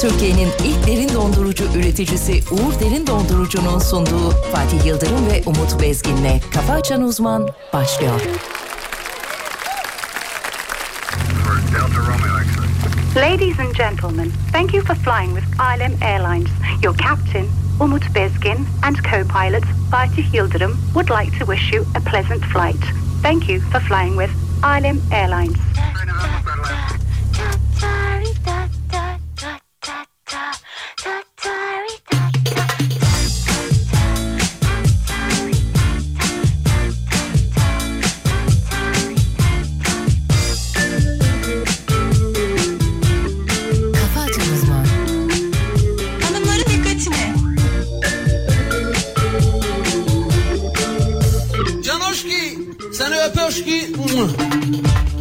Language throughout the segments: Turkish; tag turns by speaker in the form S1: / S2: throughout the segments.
S1: Türkiye'nin ilk derin dondurucu üreticisi Uğur Derin Dondurucu'nun sunduğu Fatih Yıldırım ve Umut Bezgin'le Kafa Açan Uzman başlıyor.
S2: Ladies and gentlemen, thank you for flying with ILM Airlines. Your captain, Umut Bezgin, and co-pilot Fatih Yildirim would like to wish you a pleasant flight. Thank you for flying with ILM Airlines.
S1: Kafa Açan Uzman
S3: Hanımların dikkatine.
S4: Canoşki, seni öpöşki.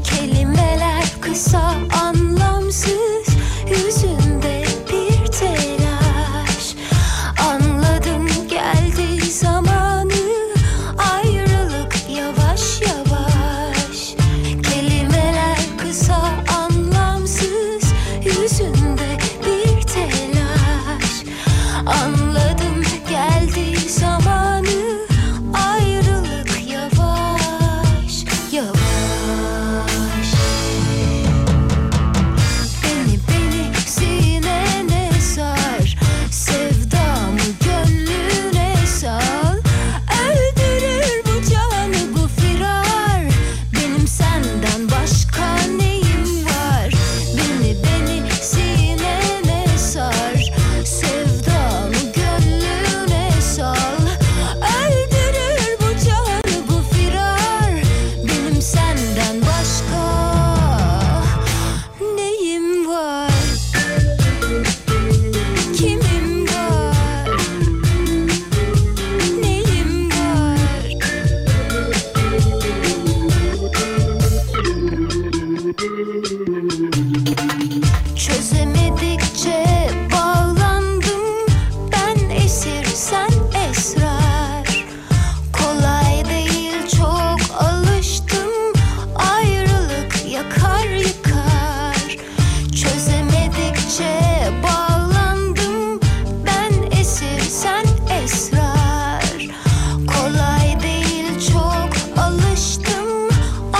S5: Kelimeler kısa anlamsız Yüzünde bir telaş Anladım geldi zamanı Ayrılık yavaş yavaş Kelimeler kısa anlamsız Yüzünde bir telaş Anladım geldi zamanı Ayrılık yavaş yavaş Beni beni sinene sar Sevdamı gönlüne sal Öldürür bu canı bu firar Benim senden başka neyim var Beni beni sinene sar Sevdamı gönlüne sal Öldürür bu canı bu firar Benim senden başka Neyim var? Kimim var? Neyim var? Çözemedikçe bağlandım Ben esir sen esrar Kolay değil çok alıştım Ayrılık yakar yıkar Çözemedikçe bağlandım Ben esir sen esrar Kolay değil çok alıştım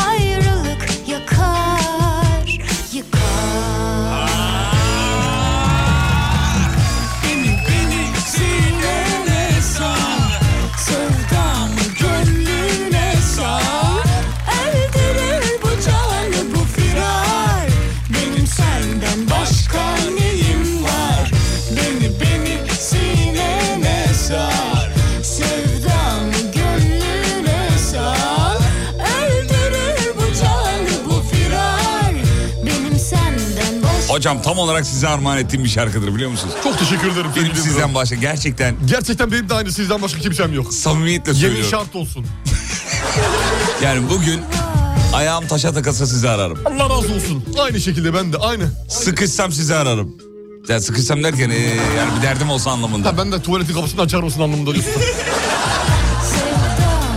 S5: Ayrılık yakar yıkar Beni beni sinene sar Sevdamı gönlüne sar Öldürür bu canı bu firar Benim senden başka neyim var Beni beni sinene sar Sevdamı gönlüne sar Öldürür bu canı bu firar Benim senden başka
S6: Hocam tam olarak size armağan ettiğim bir şarkıdır biliyor musunuz?
S7: Çok teşekkür ederim.
S6: Benim
S7: Sayın Yıldırım.
S6: sizden başka gerçekten
S7: Gerçekten benim de aynı sizden başka kimsem yok.
S6: samimiyetle
S7: Yemin
S6: söylüyorum.
S7: şart olsun.
S6: Yani bugün ayağım taşa takılsa sizi ararım.
S7: Allah razı olsun. Aynı şekilde ben de aynı.
S6: Sıkışsam sizi ararım. Yani sıkışsam derken ee, yani bir derdim olsa anlamında.
S7: Ha, ben de tuvaletin kapısını açar mısın anlamında diyorsun.
S5: sevdam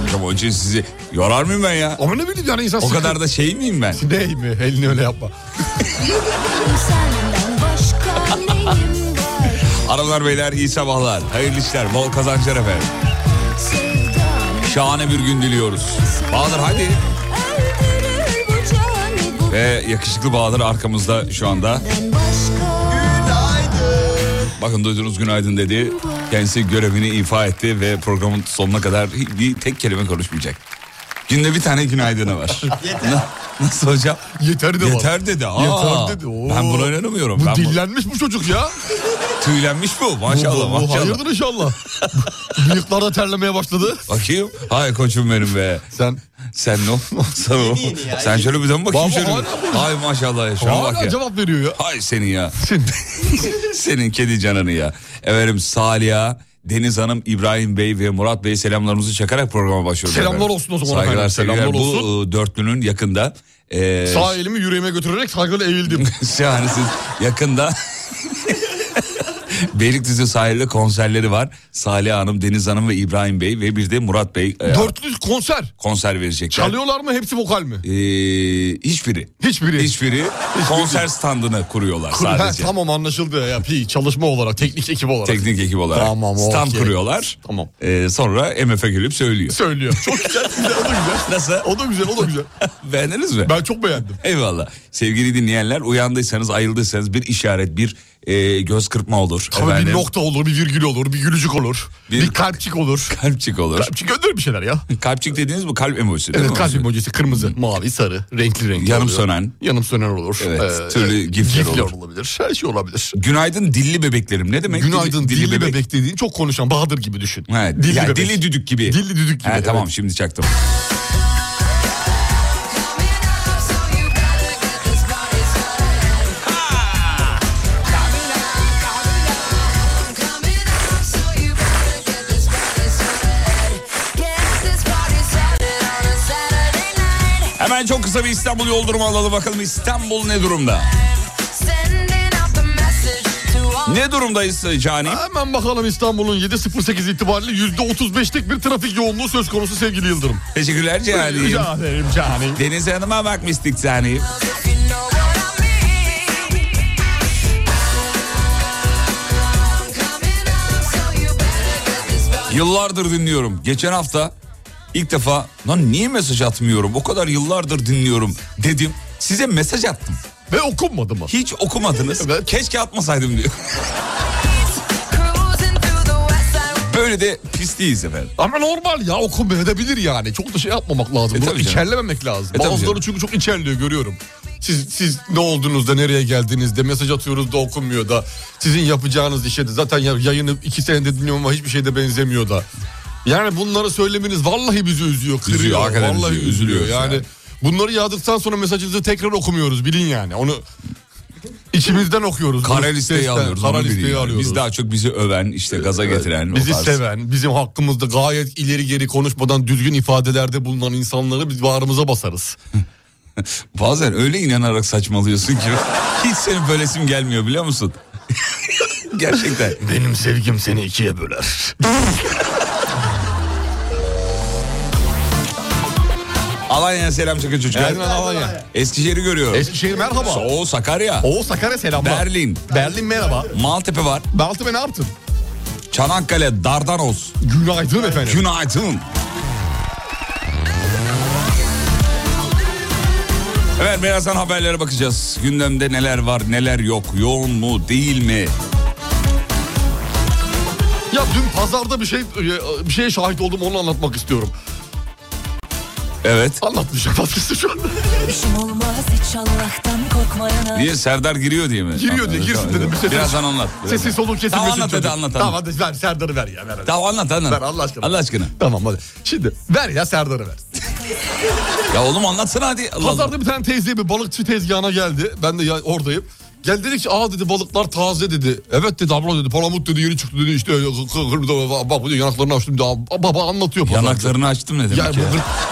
S6: Hocam onun için sizi yorar mıyım ben ya?
S7: Ama ne bileyim yani insan
S6: O kadar da şey miyim ben?
S7: Ney mi? Elini öyle yapma.
S5: Senden başka neyim var?
S6: Aralar beyler iyi sabahlar. Hayırlı işler, bol kazançlar efendim.
S5: Sevdam
S6: Şahane bir gün diliyoruz. Bahadır hadi.
S5: öldürür bu canı bu
S6: Ve yakışıklı Bahadır arkamızda şu anda.
S5: benden başka.
S6: Bakın duydunuz günaydın dedi. Kendisi görevini ifa etti ve programın sonuna kadar bir tek kelime konuşmayacak. Günde bir tane günaydını var. Na- Nasıl hocam?
S7: Yeter de var.
S6: Yeter dedi. Aa,
S7: Yeter dedi. Oo.
S6: Ben buna inanamıyorum.
S7: Bu
S6: ben bu-
S7: dillenmiş bu çocuk ya.
S6: tüylenmiş bu. Maşallah
S7: bu, bu,
S6: maşallah.
S7: hayırdır inşallah. Bıyıklar da terlemeye başladı.
S6: Bakayım. Hay koçum benim be.
S7: Sen
S6: Sen ne olmazsan o. Sen şöyle bir dön bakayım
S7: Baba
S6: şöyle.
S7: hala
S6: bir- Hay maşallah ya. Şuna bak
S7: hala
S6: ya.
S7: cevap veriyor ya.
S6: Hay senin ya. senin kedi canını ya. Efendim Saliha, Deniz Hanım, İbrahim Bey ve Murat Bey selamlarımızı çakarak programa başlıyoruz.
S7: Selamlar
S6: efendim.
S7: olsun o zaman
S6: Saygılar
S7: efendim,
S6: sevgiler.
S7: selamlar
S6: Bu
S7: olsun.
S6: e, dörtlünün yakında. E,
S7: Sağ elimi yüreğime götürerek saygıyla eğildim.
S6: yani siz yakında Beylikdüzü sahilde konserleri var. Salih Hanım, Deniz Hanım ve İbrahim Bey ve bir de Murat Bey e,
S7: Dörtlü konser.
S6: konser verecekler.
S7: Çalıyorlar mı hepsi vokal mi?
S6: Ee, hiçbiri.
S7: Hiçbiri.
S6: Hiçbiri konser standını kuruyorlar
S7: Ha,
S6: sadece.
S7: tamam anlaşıldı ya. Bir çalışma olarak, teknik ekip olarak.
S6: Teknik ekip olarak
S7: Tamam, okey.
S6: stand kuruyorlar.
S7: Tamam.
S6: Ee, sonra MF'e gelip söylüyor.
S7: Söylüyor. Çok güzel. güzel, O da güzel.
S6: Nasıl?
S7: O da güzel, o da güzel.
S6: Beğendiniz mi?
S7: Ben çok beğendim.
S6: Eyvallah. Sevgili dinleyenler uyandıysanız ayrıldıysanız bir işaret bir e, göz kırpma olur.
S7: Tabii bir
S6: Efendim,
S7: nokta olur, bir virgül olur, bir gülücük olur,
S6: Bir-
S7: bir, kalpçik olur.
S6: Kalpçik olur.
S7: Kalpçik gönder bir şeyler ya.
S6: Kalpçik dediğiniz bu kalp emojisi değil
S7: Evet
S6: mi?
S7: kalp emojisi kırmızı, mavi, sarı, renkli renkli
S6: Yanım
S7: oluyor.
S6: sönen.
S7: Yanım sönen olur. Ee, e,
S6: Evet, türlü gifler olur.
S7: olabilir. Her şey olabilir.
S6: Günaydın dilli bebeklerim ne demek?
S7: Günaydın dilli, bebek.
S6: bebek.
S7: dediğin çok konuşan Bahadır gibi düşün.
S6: Ha,
S7: dilli
S6: ya,
S7: bebek.
S6: Dili düdük gibi.
S7: Dilli düdük gibi,
S6: Ha,
S7: evet.
S6: tamam şimdi çaktım. Hemen çok kısa bir İstanbul yol durumu alalım bakalım İstanbul ne durumda? Ne durumdayız e, Cani?
S7: Hemen bakalım İstanbul'un 7.08 itibariyle %35'lik bir trafik yoğunluğu söz konusu sevgili Yıldırım.
S6: Teşekkürler Cani'yim.
S7: Rica ederim canım.
S6: Deniz Hanım'a bakmıştık Cani'yim. Yıllardır dinliyorum. Geçen hafta ilk defa lan niye mesaj atmıyorum? O kadar yıllardır dinliyorum dedim. Size mesaj attım.
S7: Ve okunmadı mı?
S6: Hiç okumadınız.
S7: Evet.
S6: Keşke atmasaydım diyor. Böyle de pisliğiz efendim.
S7: Ama normal ya okunmayabilir yani. Çok da şey yapmamak lazım.
S6: E
S7: Bunu
S6: tabii canım.
S7: içerlememek lazım.
S6: E tabii
S7: Bazıları
S6: canım.
S7: çünkü çok içerliyor görüyorum. Siz siz ne oldunuz da nereye geldiniz de mesaj atıyoruz da okunmuyor da sizin yapacağınız işe de zaten ya- yayını iki senede dinliyorum ama hiçbir şeyde benzemiyor da. Yani bunları söylemeniz vallahi bizi üzüyor, kırıyor.
S6: Üzüyor, hakikaten
S7: vallahi
S6: üzüyor, üzülüyoruz
S7: yani.
S6: yani.
S7: Bunları yazdıktan sonra mesajınızı tekrar okumuyoruz bilin yani. Onu içimizden okuyoruz.
S6: Kara
S7: Bunu
S6: listeyi
S7: sesten,
S6: alıyoruz.
S7: Kara
S6: onu bilin
S7: listeyi
S6: yani.
S7: alıyoruz.
S6: Biz daha çok bizi öven, işte gaza getiren. o
S7: Bizi
S6: tarz.
S7: seven, bizim hakkımızda gayet ileri geri konuşmadan düzgün ifadelerde bulunan insanları biz bağrımıza basarız.
S6: Bazen öyle inanarak saçmalıyorsun ki hiç senin böylesim gelmiyor biliyor musun? Gerçekten.
S7: Benim sevgim seni ikiye böler.
S6: Alanya'ya selam çakın çocuklar.
S7: Günaydın Alanya.
S6: Eskişehir'i görüyorum.
S7: Eskişehir merhaba.
S6: Oo Sakarya.
S7: Oo Sakarya selamlar.
S6: Berlin.
S7: Berlin merhaba.
S6: Maltepe var.
S7: Baltı ne yaptın?
S6: Çanakkale, Dardanos.
S7: Günaydın efendim.
S6: Günaydın. Evet birazdan haberlere bakacağız. Gündemde neler var neler yok. Yoğun mu değil mi?
S7: ya dün pazarda bir şey bir şeye şahit oldum onu anlatmak istiyorum.
S6: Evet.
S7: Anlatmayacak vazgeçtim şu anda.
S1: İşim olmaz hiç Allah'tan korkmayana.
S6: Niye Serdar giriyor diye mi?
S7: Giriyor diye girsin dedim. Bir ses-
S6: Birazdan anlat. birazdan.
S7: Sesi soluğu kesilmesin.
S6: Tamam anlat hadi
S7: çocuğum.
S6: anlat.
S7: Tamam
S6: anlat.
S7: hadi ver Serdar'ı ver ya. Ver, hadi.
S6: Tamam anlat anlat.
S7: Ver Allah aşkına.
S6: Allah aşkına.
S7: Tamam hadi. Şimdi ver ya Serdar'ı ver.
S6: Ya oğlum anlatsana hadi. Allah Allah.
S7: Pazarda bir tane teyze bir balıkçı tezgahına geldi. Ben de ya- oradayım. Gel dedi ki aa dedi balıklar taze dedi. Evet dedi abla dedi palamut dedi yeni çıktı dedi işte kı- kı- kırmızı bak bu diyor, yanaklarını açtım dedi. Aa, Baba anlatıyor pazarda.
S6: Yanaklarını açtım ne demek ya?
S7: Ya, bu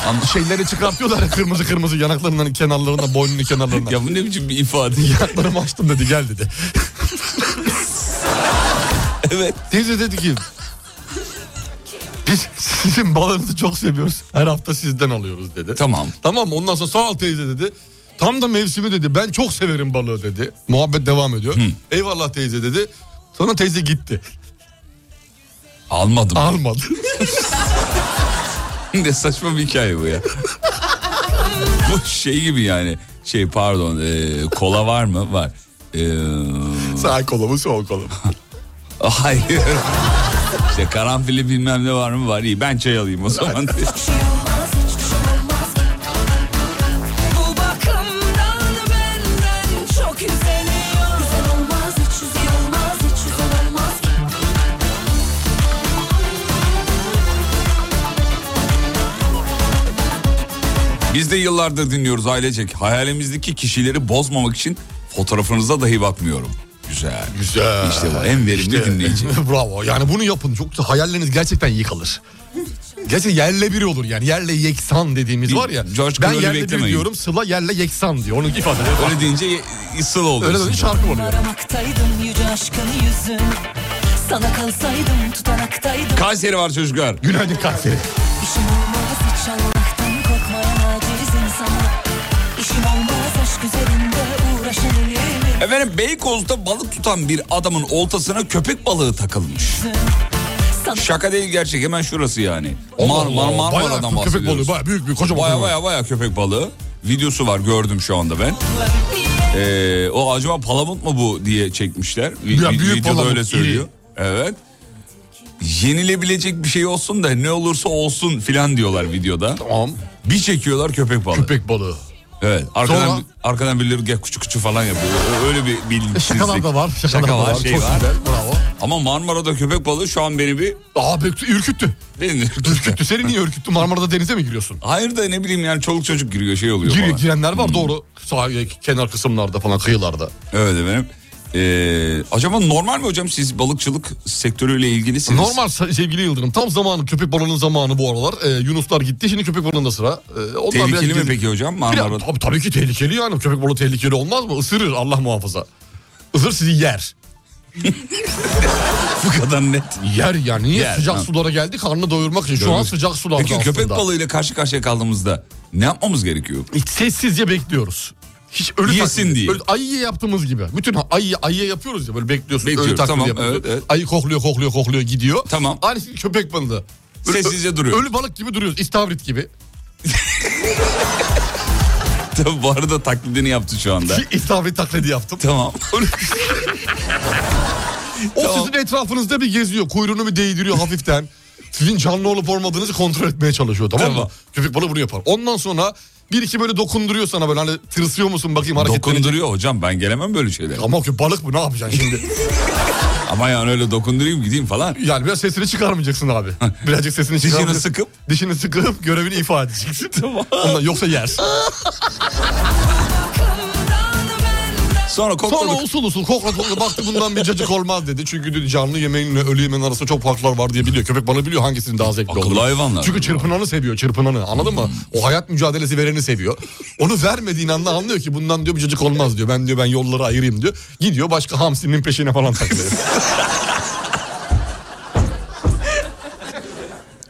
S6: Anla-
S7: gırt- şeyleri çıkartıyorlar ya kırmızı kırmızı yanaklarından kenarlarından boynunun kenarlarından.
S6: Ya bu ne biçim bir ifade?
S7: Yanaklarımı açtım dedi gel dedi.
S6: evet.
S7: Teyze dedi ki biz sizin balığınızı çok seviyoruz. Her hafta sizden alıyoruz dedi.
S6: Tamam.
S7: Tamam ondan sonra sağ ol teyze dedi. Tam da mevsimi dedi. Ben çok severim balığı dedi. Muhabbet devam ediyor. Eyvallah teyze dedi. Sonra teyze gitti.
S6: Almadım.
S7: Almadı.
S6: ne saçma bir hikaye bu ya. bu şey gibi yani. Şey pardon. e, kola var mı? Var. E,
S7: Sağ kolumu sol kolum.
S6: hayır. İşte karanfili bilmem ne var mı? Var iyi. Ben çay alayım o zaman.
S5: Bu bakımdan benden çok üzülüyor. Güzel olmaz hiç güzel olmaz hiç güzel olmaz ki.
S6: Biz de yıllardır dinliyoruz ailecek. Hayalimizdeki kişileri bozmamak için fotoğrafınıza dahi bakmıyorum. Güzel.
S7: Güzel.
S6: İşte bu en verimli dinleyici.
S7: Bravo. Yani bunu yapın. Çok hayalleriniz gerçekten yıkılır. Gerçi yerle bir olur yani. Yerle yeksan dediğimiz
S6: Bir-
S7: var ya.
S6: George
S7: ben
S6: Clooney
S7: yerle bir
S6: beklemeyin.
S7: diyorum. Sıla yerle yeksan diyor. Onun ifadeleri var.
S6: Öyle deyince ye- ısıl oldu.
S7: Öyle de şarkı var yani.
S5: Aramaktaydım yüce aşkın yüzün Sana kalsaydım tutanaktaydım
S6: Kayseri var çocuklar.
S7: Günaydın Kayseri.
S5: İşim olmaz hiç Allah'tan korkmaya aciz insana İşim olmaz aşk üzerinde uğraşan elimin
S6: Efendim Beykoz'da balık tutan bir adamın oltasına köpek balığı takılmış. Şaka değil gerçek hemen şurası yani. Mar
S7: Allah
S6: Mar
S7: Allah, bayağı
S6: Marmara'dan
S7: köpek
S6: bahsediyoruz.
S7: balığı, bayağı büyük bir kocaman
S6: Baya
S7: köpek
S6: baya baya köpek balığı. Videosu var gördüm şu anda ben. Ee, o acaba palamut mu bu diye çekmişler. Vi-
S7: Ya
S6: vi-
S7: büyük
S6: videoda
S7: palamut,
S6: öyle
S7: iri.
S6: söylüyor. Evet. Yenilebilecek bir şey olsun da ne olursa olsun filan diyorlar videoda.
S7: Tamam.
S6: Bir çekiyorlar köpek balığı.
S7: Köpek balığı.
S6: Evet. Arkadan
S7: Sonra-
S6: arkadan birileri gel küçük küçük falan yapıyor. Ö- Öyle bir
S7: E,
S6: bilinçsizlik.
S7: şakalar da var. Şakalar
S6: Şaka
S7: da
S6: var,
S7: var.
S6: şey
S7: Çok
S6: var.
S7: güzel. Bravo.
S6: Ama Marmara'da köpek balığı şu an beni bir
S7: Aa bek- ürküttü.
S6: beni
S7: Ürküttü. Seni niye ürküttü? Marmara'da denize mi giriyorsun?
S6: Hayır da ne bileyim yani çoluk çocuk giriyor şey oluyor
S7: Giriyor,
S6: falan.
S7: girenler var doğru. Sahil kenar kısımlarda falan kıyılarda.
S6: Evet efendim. Ee, acaba normal mi hocam siz balıkçılık sektörüyle ilgilisiniz?
S7: Normal se- sevgili Yıldırım tam zamanı köpek balığının zamanı bu aralar. Ee, Yunuslar gitti şimdi köpek balığında sıra. Ee, onlar biraz
S6: Tehlikeli mi
S7: gezi-
S6: peki hocam
S7: Biraz-
S6: Marmara'da?
S7: tabii, tabii ki tehlikeli yani köpek balığı tehlikeli olmaz mı? Isırır Allah muhafaza. Isır sizi yer.
S6: Bu kadar net.
S7: Yer yani niye
S6: Yer,
S7: sıcak
S6: ha.
S7: sulara geldi karnını doyurmak için. Şu an sıcak sularda
S6: Peki
S7: aslında.
S6: köpek balığıyla karşı karşıya kaldığımızda ne yapmamız gerekiyor?
S7: Hiç sessizce bekliyoruz. Hiç ölü
S6: Yesin
S7: taklidi.
S6: diye.
S7: Böyle ayıya yaptığımız gibi. Bütün ha- ayı ayıya yapıyoruz ya böyle bekliyorsun.
S6: Bekliyoruz,
S7: ölü taklidi
S6: tamam,
S7: yapıyorsun.
S6: evet, evet.
S7: Ayı kokluyor kokluyor kokluyor gidiyor.
S6: Tamam.
S7: Aynı şey köpek balığı. Böyle
S6: Sessizce
S7: ö-
S6: duruyor.
S7: Ölü balık gibi duruyoruz. İstavrit gibi.
S6: Tabii bu arada taklidini yaptı şu anda.
S7: Ki İstavrit taklidi yaptım.
S6: tamam.
S7: O
S6: Tamam.
S7: sizin etrafınızda bir geziyor. Kuyruğunu bir değdiriyor hafiften. Sizin canlı olup olmadığınızı kontrol etmeye çalışıyor tamam,
S6: Tamam.
S7: mı? Köpek balığı bunu yapar. Ondan sonra bir iki böyle dokunduruyor sana böyle hani tırsıyor musun bakayım hareketlenecek.
S6: Dokunduruyor hocam ben gelemem böyle şeylere.
S7: Ama o köpek balık bu ne yapacaksın şimdi?
S6: Ama yani öyle dokundurayım gideyim falan.
S7: yani biraz sesini çıkarmayacaksın abi. Birazcık sesini
S6: Dişini
S7: çıkarmayacaksın.
S6: sıkıp?
S7: Dişini sıkıp görevini ifade edeceksin. Ondan yoksa yer.
S6: Sonra kokladık.
S7: Sonra usul usul kokla kokla baktı bundan bir cacık olmaz dedi. Çünkü dedi canlı yemeğinle ölü yemeğin arasında çok farklar var diye biliyor. Köpek balığı biliyor hangisinin daha zevkli
S6: Akıllı
S7: olduğunu.
S6: hayvanlar.
S7: Çünkü çırpınanı seviyor çırpınanı anladın mı? O hayat mücadelesi vereni seviyor. Onu vermediğin anda anlıyor ki bundan diyor bir cacık olmaz diyor. Ben diyor ben yolları ayırayım diyor. Gidiyor başka hamsinin peşine falan takılıyor.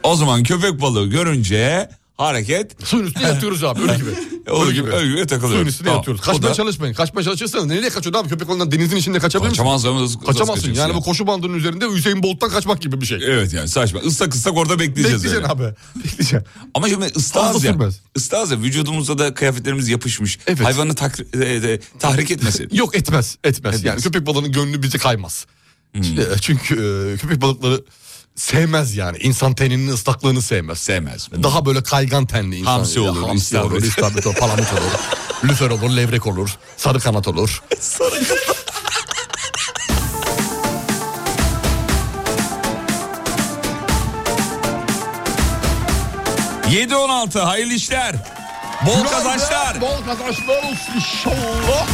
S6: O zaman köpek balığı görünce hareket
S7: Suyun üstüne yatıyoruz abi ölü gibi.
S6: Öyle gibi, öyle gibi takılıyoruz.
S7: Suyun üstüne
S6: Tamam.
S7: yatıyoruz.
S6: O
S7: Kaçmaya
S6: da-
S7: çalışmayın. Kaçmaya çalışırsanız nereye kaçıyorsun abi? Köpek ondan denizin içinde kaçabilir misin?
S6: kaçamazsın. nasıl- nasıl
S7: Kaçamazsın.
S6: kaçacaksın
S7: Yani, bu koşu bandının üzerinde Hüseyin Bolt'tan kaçmak gibi bir şey.
S6: Evet yani saçma. Islak ıslak orada bekleyeceğiz.
S7: Bekleyeceksin
S6: öyle.
S7: abi. Bekleyeceksin.
S6: Ama şimdi ıslahız
S7: Fazla
S6: ya.
S7: sürmez.
S6: Islahız ya. Vücudumuza da kıyafetlerimiz yapışmış.
S7: Evet.
S6: Hayvanı tak- e, e, tahrik etmesin.
S7: Yok etmez. Etmez.
S6: Etmez. Hmm.
S7: Yani köpek balığının gönlü bizi kaymaz. Çünkü- Çünkü e, köpek balıkları sevmez yani. İnsan teninin ıslaklığını sevmez. E,
S6: Sevmez.
S7: Daha böyle kaygan tenli insan.
S6: Hamsi
S7: Ya,
S6: olur,
S7: Hamsi olur,
S6: istavrit.
S7: istavrit olur, palamut olur. Lüfer olur, levrek olur, sarı kanat olur.
S6: Yedi 7-16 hayırlı işler. Bol kazançlar. Oh.
S7: Bol kazançlar olsun inşallah.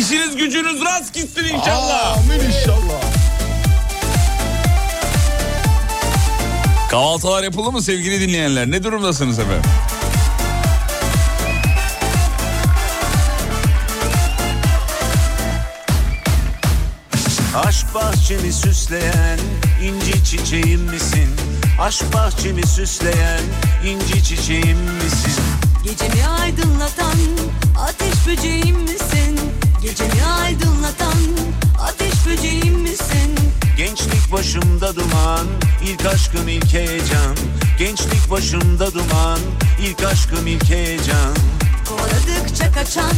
S6: İşiniz gücünüz rast gitsin inşallah.
S7: Amin inşallah.
S6: Kahvaltılar yapıldı mı sevgili dinleyenler? Ne durumdasınız efendim?
S8: Aşk bahçemi süsleyen inci çiçeğim misin? Aşk bahçemi süsleyen inci çiçeğim misin?
S5: Gecemi aydınlatan ateş böceğim misin? Gecemi aydınlatan ateş böceğim misin?
S8: Gençlik başımda duman, ilk aşkım ilk heyecan. Gençlik başımda duman, ilk aşkım ilk heyecan.
S5: Kovaladıkça kaçan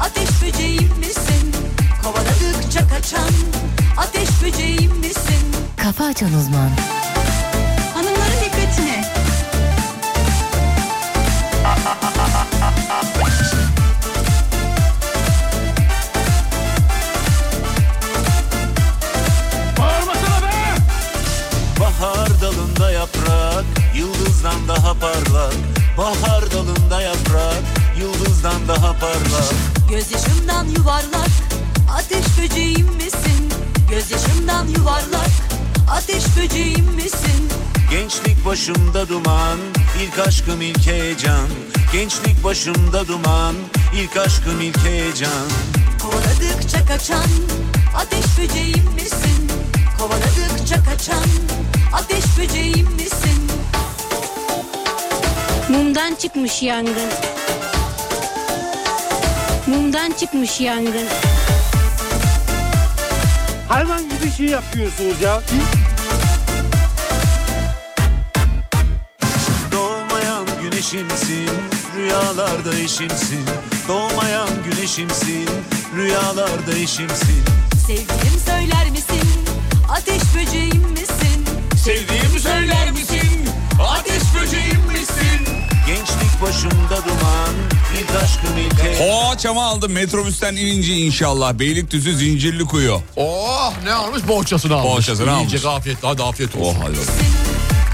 S5: ateş böceğim misin? Kovaladıkça kaçan ateş böceğim misin?
S1: Kafa Açan Uzman.
S3: Hanımların dikkatine.
S8: Bahar dalında yaprak, yıldızdan daha parlak. Bahar dalında yaprak, yıldızdan daha parlak.
S5: Gözyaşımdan yuvarlak ateş böceğim misin? Gözyaşımdan yuvarlak ateş böceğim misin?
S8: Gençlik başımda duman, ilk aşkım ilk heyecan. Gençlik başımda duman, ilk aşkım ilk heyecan.
S5: Kovaladıkça kaçan ateş böceğim misin? Kovaladıkça kaçan ateş böceğim misin?
S9: Mumdan çıkmış yangın. Mumdan çıkmış yangın.
S10: Hayvan gibi şey yapıyorsunuz ya.
S8: Doğmayan güneşimsin, rüyalarda eşimsin. Doğmayan güneşimsin, rüyalarda eşimsin.
S5: Sevgilim söyler misin? Ateş böceğim misin?
S8: Sevdiğimi söyler misin? Ateş böceğim misin? Gençlik başımda duman, ilk aşkım ilk heyecan.
S6: Poğaçamı aldım metrobüsten inince inşallah. Beylikdüzü zincirli kuyu.
S7: Oh ne almış? Boğaçasını almış.
S6: Boğaçasını almış.
S7: Yiyecek afiyetle. Hadi afiyet olsun.
S6: Oh hadi bakalım.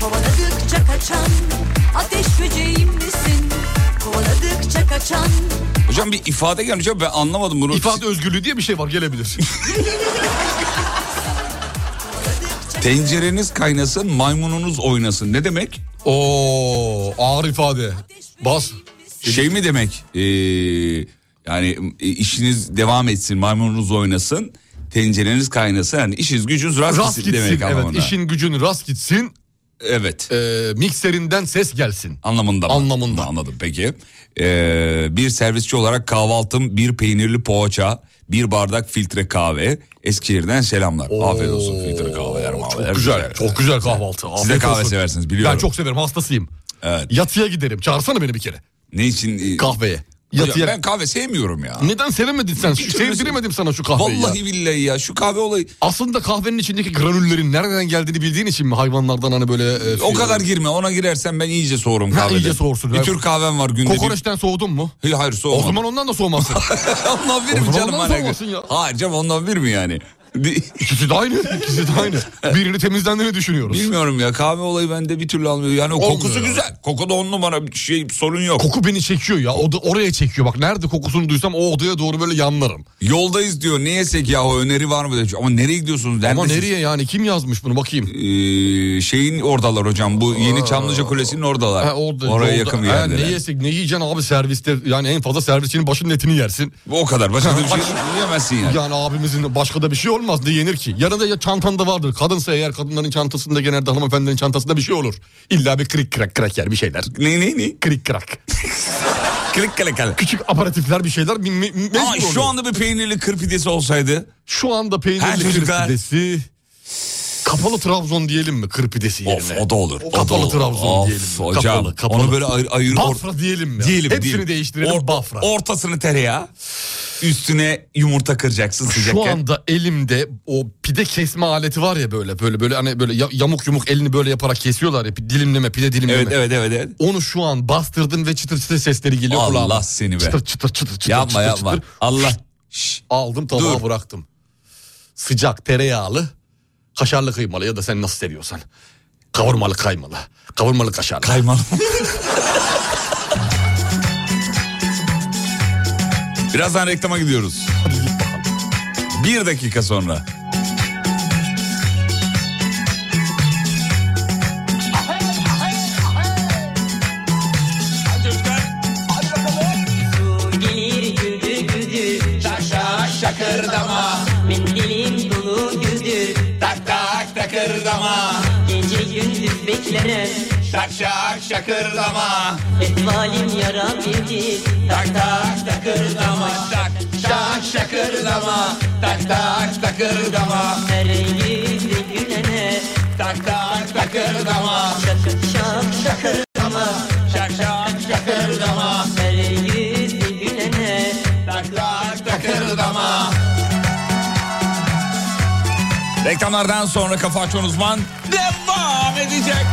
S5: Kovaladıkça kaçan ateş böceğim misin? Kovaladıkça kaçan
S6: Hocam bir ifade gelmiş ama ben anlamadım bunu.
S7: İfade özgürlüğü diye bir şey var gelebilir.
S6: Tencereniz kaynasın maymununuz oynasın. Ne demek?
S7: Oo ağır ifade. Bas.
S6: Şey mi demek? Ee, yani e, işiniz devam etsin maymununuz oynasın. Tencereniz kaynasın. Yani işiniz gücünüz rast,
S7: Rast
S6: gitsin,
S7: gitsin.
S6: demek
S7: Evet
S6: anlamında.
S7: işin gücün rast gitsin.
S6: Evet.
S7: Ee, mikserinden ses gelsin.
S6: Anlamında mı?
S7: Anlamında.
S6: Anladım peki. Ee, bir servisçi olarak kahvaltım bir peynirli poğaça, bir bardak filtre kahve. Eskişehir'den selamlar. Afiyet olsun filtre kahveler.
S7: Çok
S6: maveler,
S7: güzel. Çok güzel kahvaltı.
S6: Siz de
S7: Afiyet
S6: kahve
S7: olsun.
S6: seversiniz biliyorum.
S7: Ben çok severim hastasıyım.
S6: Evet.
S7: Yatıya giderim. Çağırsana beni bir kere.
S6: Ne için? Ee,
S7: Kahveye.
S6: Hocam
S7: Yatıya.
S6: Ben kahve sevmiyorum ya.
S7: Neden sevemedin sen?
S6: Bir türlü-
S7: Sevdiremedim sana şu kahveyi
S6: Vallahi
S7: ya.
S6: billahi ya şu kahve olayı.
S7: Aslında kahvenin içindeki granüllerin nereden geldiğini bildiğin için mi hayvanlardan hani böyle... e,
S6: O
S7: şey-
S6: kadar girme ona girersen ben iyice soğurum
S7: Ha,
S6: kahvede.
S7: iyice soğursun.
S6: Bir tür kahvem var günde. bir-
S7: Kokoreçten soğudun mu?
S6: Hayır hayır
S7: O
S6: soğumam.
S7: zaman ondan da soğumazsın.
S6: ondan bir
S7: O
S6: mi
S7: zaman
S6: canım?
S7: ondan
S6: bana göre?
S7: soğumasın ya.
S6: Hayır canım ondan bir mi yani? Bir-
S7: İkisi de aynı. İkisi de aynı. Birini temizlendiğini düşünüyoruz.
S6: Bilmiyorum ya kahve olayı bende bir türlü almıyor. Yani o
S7: Olmuyor
S6: kokusu
S7: ya.
S6: güzel. Koku da on numara bir şey sorun yok.
S7: Koku beni çekiyor ya. O da oraya çekiyor. Bak nerede kokusunu duysam o odaya doğru böyle yanlarım.
S6: Yoldayız diyor. Ne yesek yahu öneri var mı? diyor. Ama nereye gidiyorsunuz?
S7: Ama
S6: Neredesiniz?
S7: nereye yani? Kim yazmış bunu bakayım.
S6: Ee, şeyin oradalar hocam. Bu yeni Çamlıca Kulesi'nin oradalar.
S7: Ha, orada,
S6: Oraya
S7: orada-
S6: yakın bir
S7: Ha,
S6: yerdeler.
S7: ne yesek ne yiyeceksin abi serviste. Yani en fazla servisçinin başının etini yersin.
S6: O kadar. Başka da bir şey yemezsin yani.
S7: Yani abimizin başka da bir şey olmaz. Ne yenir ki? Yanında ya çantanda vardır. Kadınsa eğer kadınların çantasında genelde hanımefendilerin çantasında bir şey olur. İlla bir krik krak krak yer bir şeyler.
S6: Ne ne ne?
S7: Krik krak.
S6: Klik klik klik.
S7: Küçük aparatifler bir şeyler. Me- me- mecbur
S6: Ama
S7: oluyor.
S6: şu anda bir peynirli kır pidesi olsaydı.
S7: Şu anda
S6: Her
S7: peynirli
S6: çocuklar-
S7: kırpidesi. Kapalı Trabzon diyelim mi kırpidesi
S6: Of
S7: yerine?
S6: o da olur. o da
S7: Kapalı
S6: olur.
S7: Trabzon
S6: Of,
S7: diyelim. mi?
S6: Hocam,
S7: kapalı, kapalı.
S6: Onu böyle ayır ayır. or-
S7: Bafra diyelim mi?
S6: Diyelim
S7: Hepsini
S6: diyelim.
S7: değiştirelim
S6: Or-
S7: Bafra.
S6: Ortasını tereyağı. Üstüne yumurta kıracaksın sıcakken.
S7: Şu anda elimde o pide kesme aleti var ya böyle böyle böyle hani böyle ya- yamuk yumuk elini böyle yaparak kesiyorlar ya dilimleme pide dilimleme.
S6: Evet evet evet evet.
S7: Onu şu an bastırdım ve çıtır çıtır sesleri geliyor
S6: Allah
S7: kulağıma.
S6: seni be.
S7: Çıtır çıtır çıtır çıtır
S6: yapma
S7: çıtır
S6: yapma.
S7: çıtır.
S6: Allah. Şşş.
S7: Aldım tabağa
S6: Dur.
S7: bıraktım. Sıcak tereyağlı kaşarlı kıymalı ya da sen nasıl seviyorsan. Kavurmalı kaymalı. Kavurmalı kaşarlı.
S6: Kaymalı. Birazdan reklama gidiyoruz.
S7: Hadi git bakalım.
S6: Bir dakika sonra.
S5: Mendilim dolu güldü
S6: Tak tak takırdama.
S5: Gece gündüz beklerim
S6: Tak şak şakırdama.
S5: Etvalim yara bildi
S6: Tak tak takırdama. Tak şak şakırdama. Tak tak takırdama.
S5: Her yüzde gülene
S6: Tak tak takırdama.
S5: Şakır şak şakır
S6: Şak şak şakırdama.
S5: Her yüzde gülene
S6: Tak tak takırdama. Reklamlardan sonra Kafa Açan Uzman devam edecek.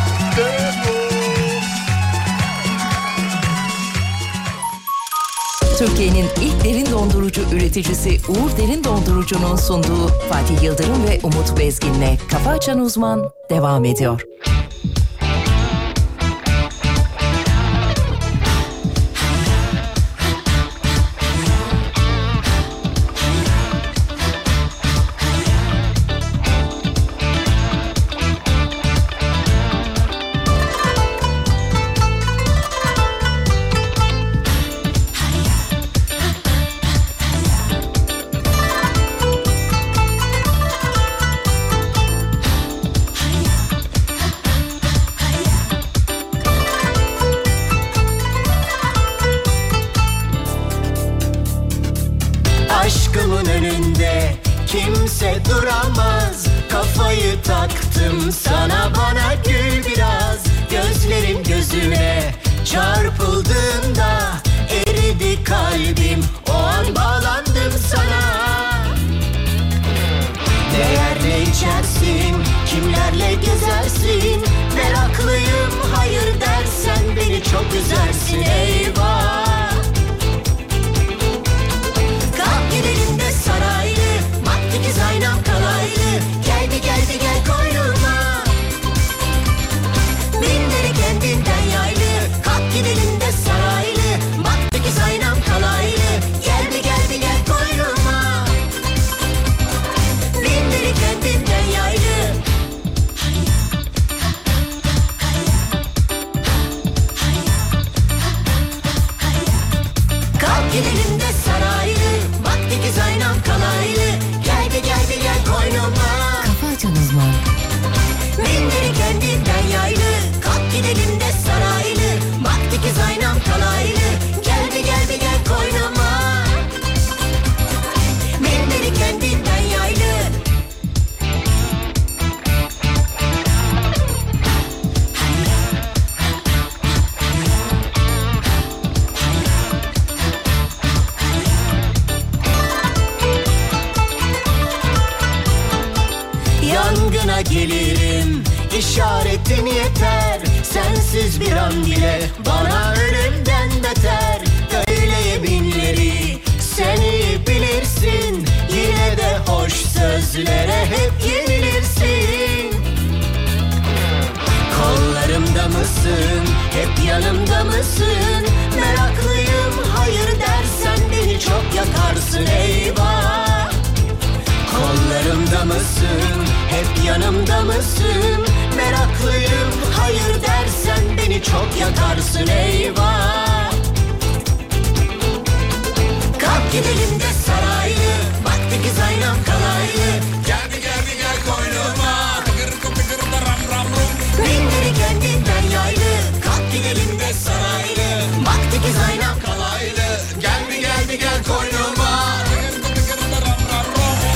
S1: Türkiye'nin ilk derin dondurucu üreticisi Uğur Derin Dondurucu'nun sunduğu Fatih Yıldırım ve Umut Bezgin'le Kafa Açan Uzman devam ediyor.
S11: önünde kimse duramaz Kafayı taktım sana bana gül biraz Gözlerim gözüne çarpıldığında Eridi kalbim o an bağlandım sana Nelerle içersin, kimlerle gezersin Meraklıyım hayır dersen beni çok üzersin eyvah Kalk gidelim de saraylı, maddi kız aynam kalaylı Geldi geldi gel koynuma Minderi kendinden yaylı, kalk gidelim de saraylı Maddi kız aynam kalaylı, geldi geldi gel koynuma Bindiri kendinden yaylı Kalk gidelim de saraylı Vakti ki zaynam kalaylı Geldi geldi gel koynuma
S1: Kafa Açan Uzman.
S11: Bindiri kendinden yaylı Kalk gidelim de saraylı Vakti ki zaynam kalaylı Geldi geldi gel koynuma Bindiri kendinden yaylı Yangına gelirim işaretin yeter Sensiz bir an bile bana ölümden beter Öyle binleri sen iyi bilirsin Yine de hoş sözlere hep yenilirsin Kollarımda mısın? Hep yanımda mısın? Meraklıyım hayır dersen beni çok yakarsın eyvah Kollarımda mısın? Hep yanımda mısın? Meraklıyım hayır dersen beni çok yakarsın eyvah Kalk gidelim de saraylı Vakti ki zaynam kalaylı Geldi geldi gel koynuma Bindiri kendinden yaylı Kalk gidelim de saraylı Vakti ki zaynam kalaylı Geldi geldi gel koynuma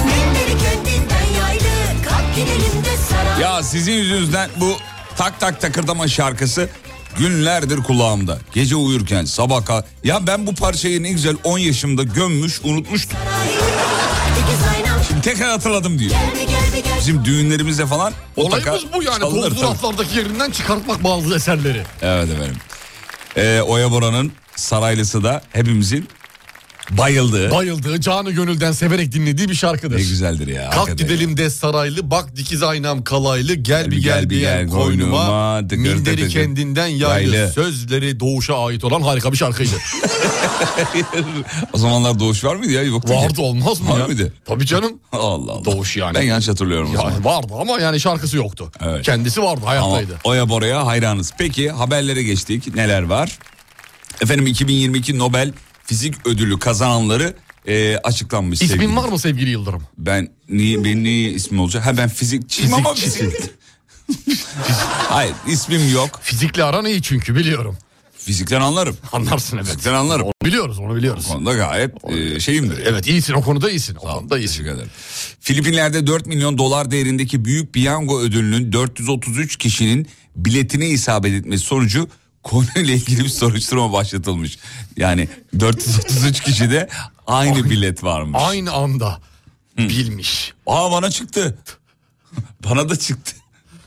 S11: Bindiri kendinden yaylı Kalk gidelim de saraylı
S6: Ya sizin yüzünüzden bu tak tak takırdama şarkısı günlerdir kulağımda. Gece uyurken sabah kalk. Ya ben bu parçayı ne güzel 10 yaşımda gömmüş unutmuştum. Şimdi tekrar hatırladım diyor. Bizim düğünlerimizde falan mutlaka
S7: Olayımız bu yani.
S6: çalınır
S7: Bozdu
S6: tabii.
S7: raflardaki yerinden çıkartmak bazı eserleri.
S6: Evet efendim. Ee, Oya Bora'nın Saraylısı da hepimizin bayıldığı.
S7: Bayıldığı, canı gönülden severek dinlediği bir şarkıdır.
S6: Ne güzeldir ya.
S7: Kalk gidelim de saraylı, bak dikiz aynam kalaylı, gel bir gel bir gel koynuma,
S6: koynuma, tıkır
S7: minderi
S6: tıkır.
S7: kendinden yaylı.
S6: Yaylı.
S7: Sözleri doğuşa ait olan harika bir şarkıydı.
S6: o zamanlar doğuş var mıydı ya? Yoktu ki.
S7: Vardı olmaz mı
S6: var
S7: ya?
S6: mıydı?
S7: Tabii canım.
S6: Allah Allah.
S7: Doğuş yani.
S6: Ben yanlış hatırlıyorum o zaman.
S7: Yani vardı ama yani şarkısı yoktu. Kendisi vardı, hayattaydı.
S6: Ama Oya Bora'ya hayranız. Peki haberlere geçtik. Neler var? Efendim 2022 Nobel Fizik Ödülü kazananları e, açıklanmış. sevgili-
S7: İsmin var mı sevgili Yıldırım?
S6: Ben niye benim niye ismim olacak? Ha ben fizikçiyim
S8: Tipo,
S6: ama fizik. Hayır ismim yok.
S7: Fizikle aran iyi çünkü biliyorum.
S6: Fizikten anlarım.
S7: Anlarsın evet.
S6: Fizikten anlarım.
S7: Biliyoruz onu biliyoruz.
S6: O konuda gayet e, şeyimdir.
S7: Evet iyisin o konuda iyisin. O konuda iyisin.
S6: Teşekkür ederim. Filipinler'de 4 milyon dolar değerindeki büyük piyango ödülünün 433 kişinin biletine isabet etmesi sonucu konuyla ilgili bir soruşturma başlatılmış. Yani 433 kişide aynı bilet varmış.
S7: Aynı anda bilmiş.
S6: Aa bana çıktı. Bana da çıktı.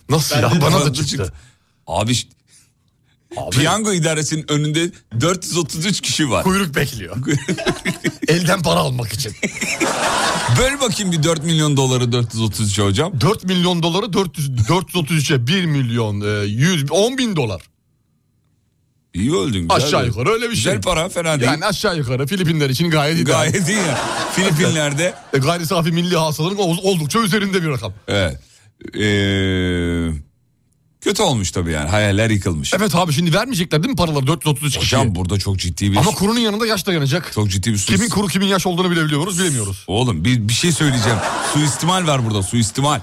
S7: Nasıl
S6: Ben
S7: ya?
S6: de-
S7: Bana da çıktı.
S6: Abi, ş- piyango idaresinin önünde 433 kişi var.
S7: Kuyruk bekliyor. Elden para almak için.
S6: Böl bakayım bir 4 milyon doları 433 hocam.
S7: 4 milyon doları 400, 433'e 1 milyon e, 100 10 bin dolar.
S6: İyi öldün. güzel
S7: aşağı
S6: öldün.
S7: yukarı öyle bir şey.
S6: Güzel para fena değil.
S7: Yani aşağı yukarı Filipinler için gayet iyi.
S6: Gayet iyi ya. Filipinler'de
S7: E, gayri safi milli hasılanın ol- oldukça üzerinde bir rakam.
S6: evet. Ee, kötü olmuş tabii yani. Hayaller yıkılmış.
S7: Evet abi şimdi vermeyecekler değil mi paraları 433 kişiye?
S6: Hocam burada çok ciddi bir
S7: Ama kurunun yanında yaş da yanacak.
S6: çok ciddi bir
S7: Kimin
S6: suistimal.
S7: kuru kimin yaş olduğunu bile biliyoruz bilemiyoruz.
S6: Oğlum bir, bir şey söyleyeceğim. suistimal var burada suistimal.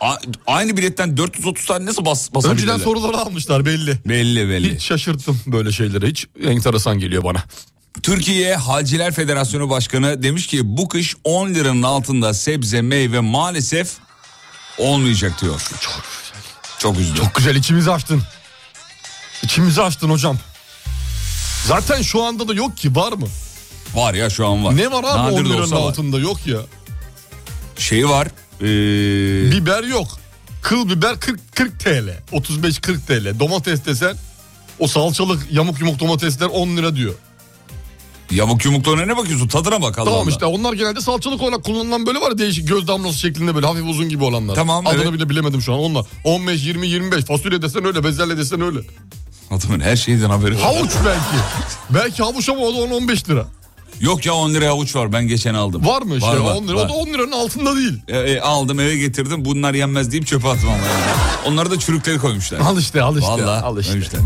S6: A- aynı biletten 430 tane nasıl bas basabilirler?
S7: Önceden soruları almışlar belli.
S6: Belli belli.
S7: Hiç şaşırttım böyle şeylere hiç enteresan geliyor bana.
S6: Türkiye Halciler Federasyonu Başkanı demiş ki bu kış 10 liranın altında sebze meyve maalesef olmayacak diyor. Çok güzel. Çok üzüldüm.
S7: Çok güzel içimizi açtın. İçimizi açtın hocam. Zaten şu anda da yok ki var mı?
S6: Var ya şu an var.
S7: Ne var abi
S6: Nadir
S7: 10
S6: de
S7: liranın
S6: olsa var.
S7: altında yok ya.
S6: Şey var. ee,
S7: Biber yok. Kıl biber 40, 40 TL. 35-40 TL. Domates desen o salçalık yamuk yumuk domatesler 10 lira diyor.
S6: Yamuk yumuklarına ne bakıyorsun? Tadına bak Allah
S7: tamam
S6: Allah.
S7: işte onlar genelde salçalık olarak kullanılan böyle var ya değişik göz damlası şeklinde böyle hafif uzun gibi olanlar.
S6: Tamam,
S7: Adını
S6: evet.
S7: bile bilemedim şu an onlar. 15, 20, 25 fasulye desen öyle bezelye desen öyle.
S6: Adamın her şeyden haberi var.
S7: Havuç belki. belki havuç ama o da 10-15 lira.
S6: Yok ya 10 liraya avuç var ben geçen aldım.
S7: Var mı işte
S6: Var, var,
S7: 10 lira?
S6: var.
S7: O da 10 liranın altında değil.
S6: E, e, aldım eve getirdim bunlar yenmez deyip çöpe atmam. Yani. Onları da çürükleri koymuşlar.
S7: Al işte al işte.
S6: Vallahi,
S7: al işte.
S6: koymuşlar.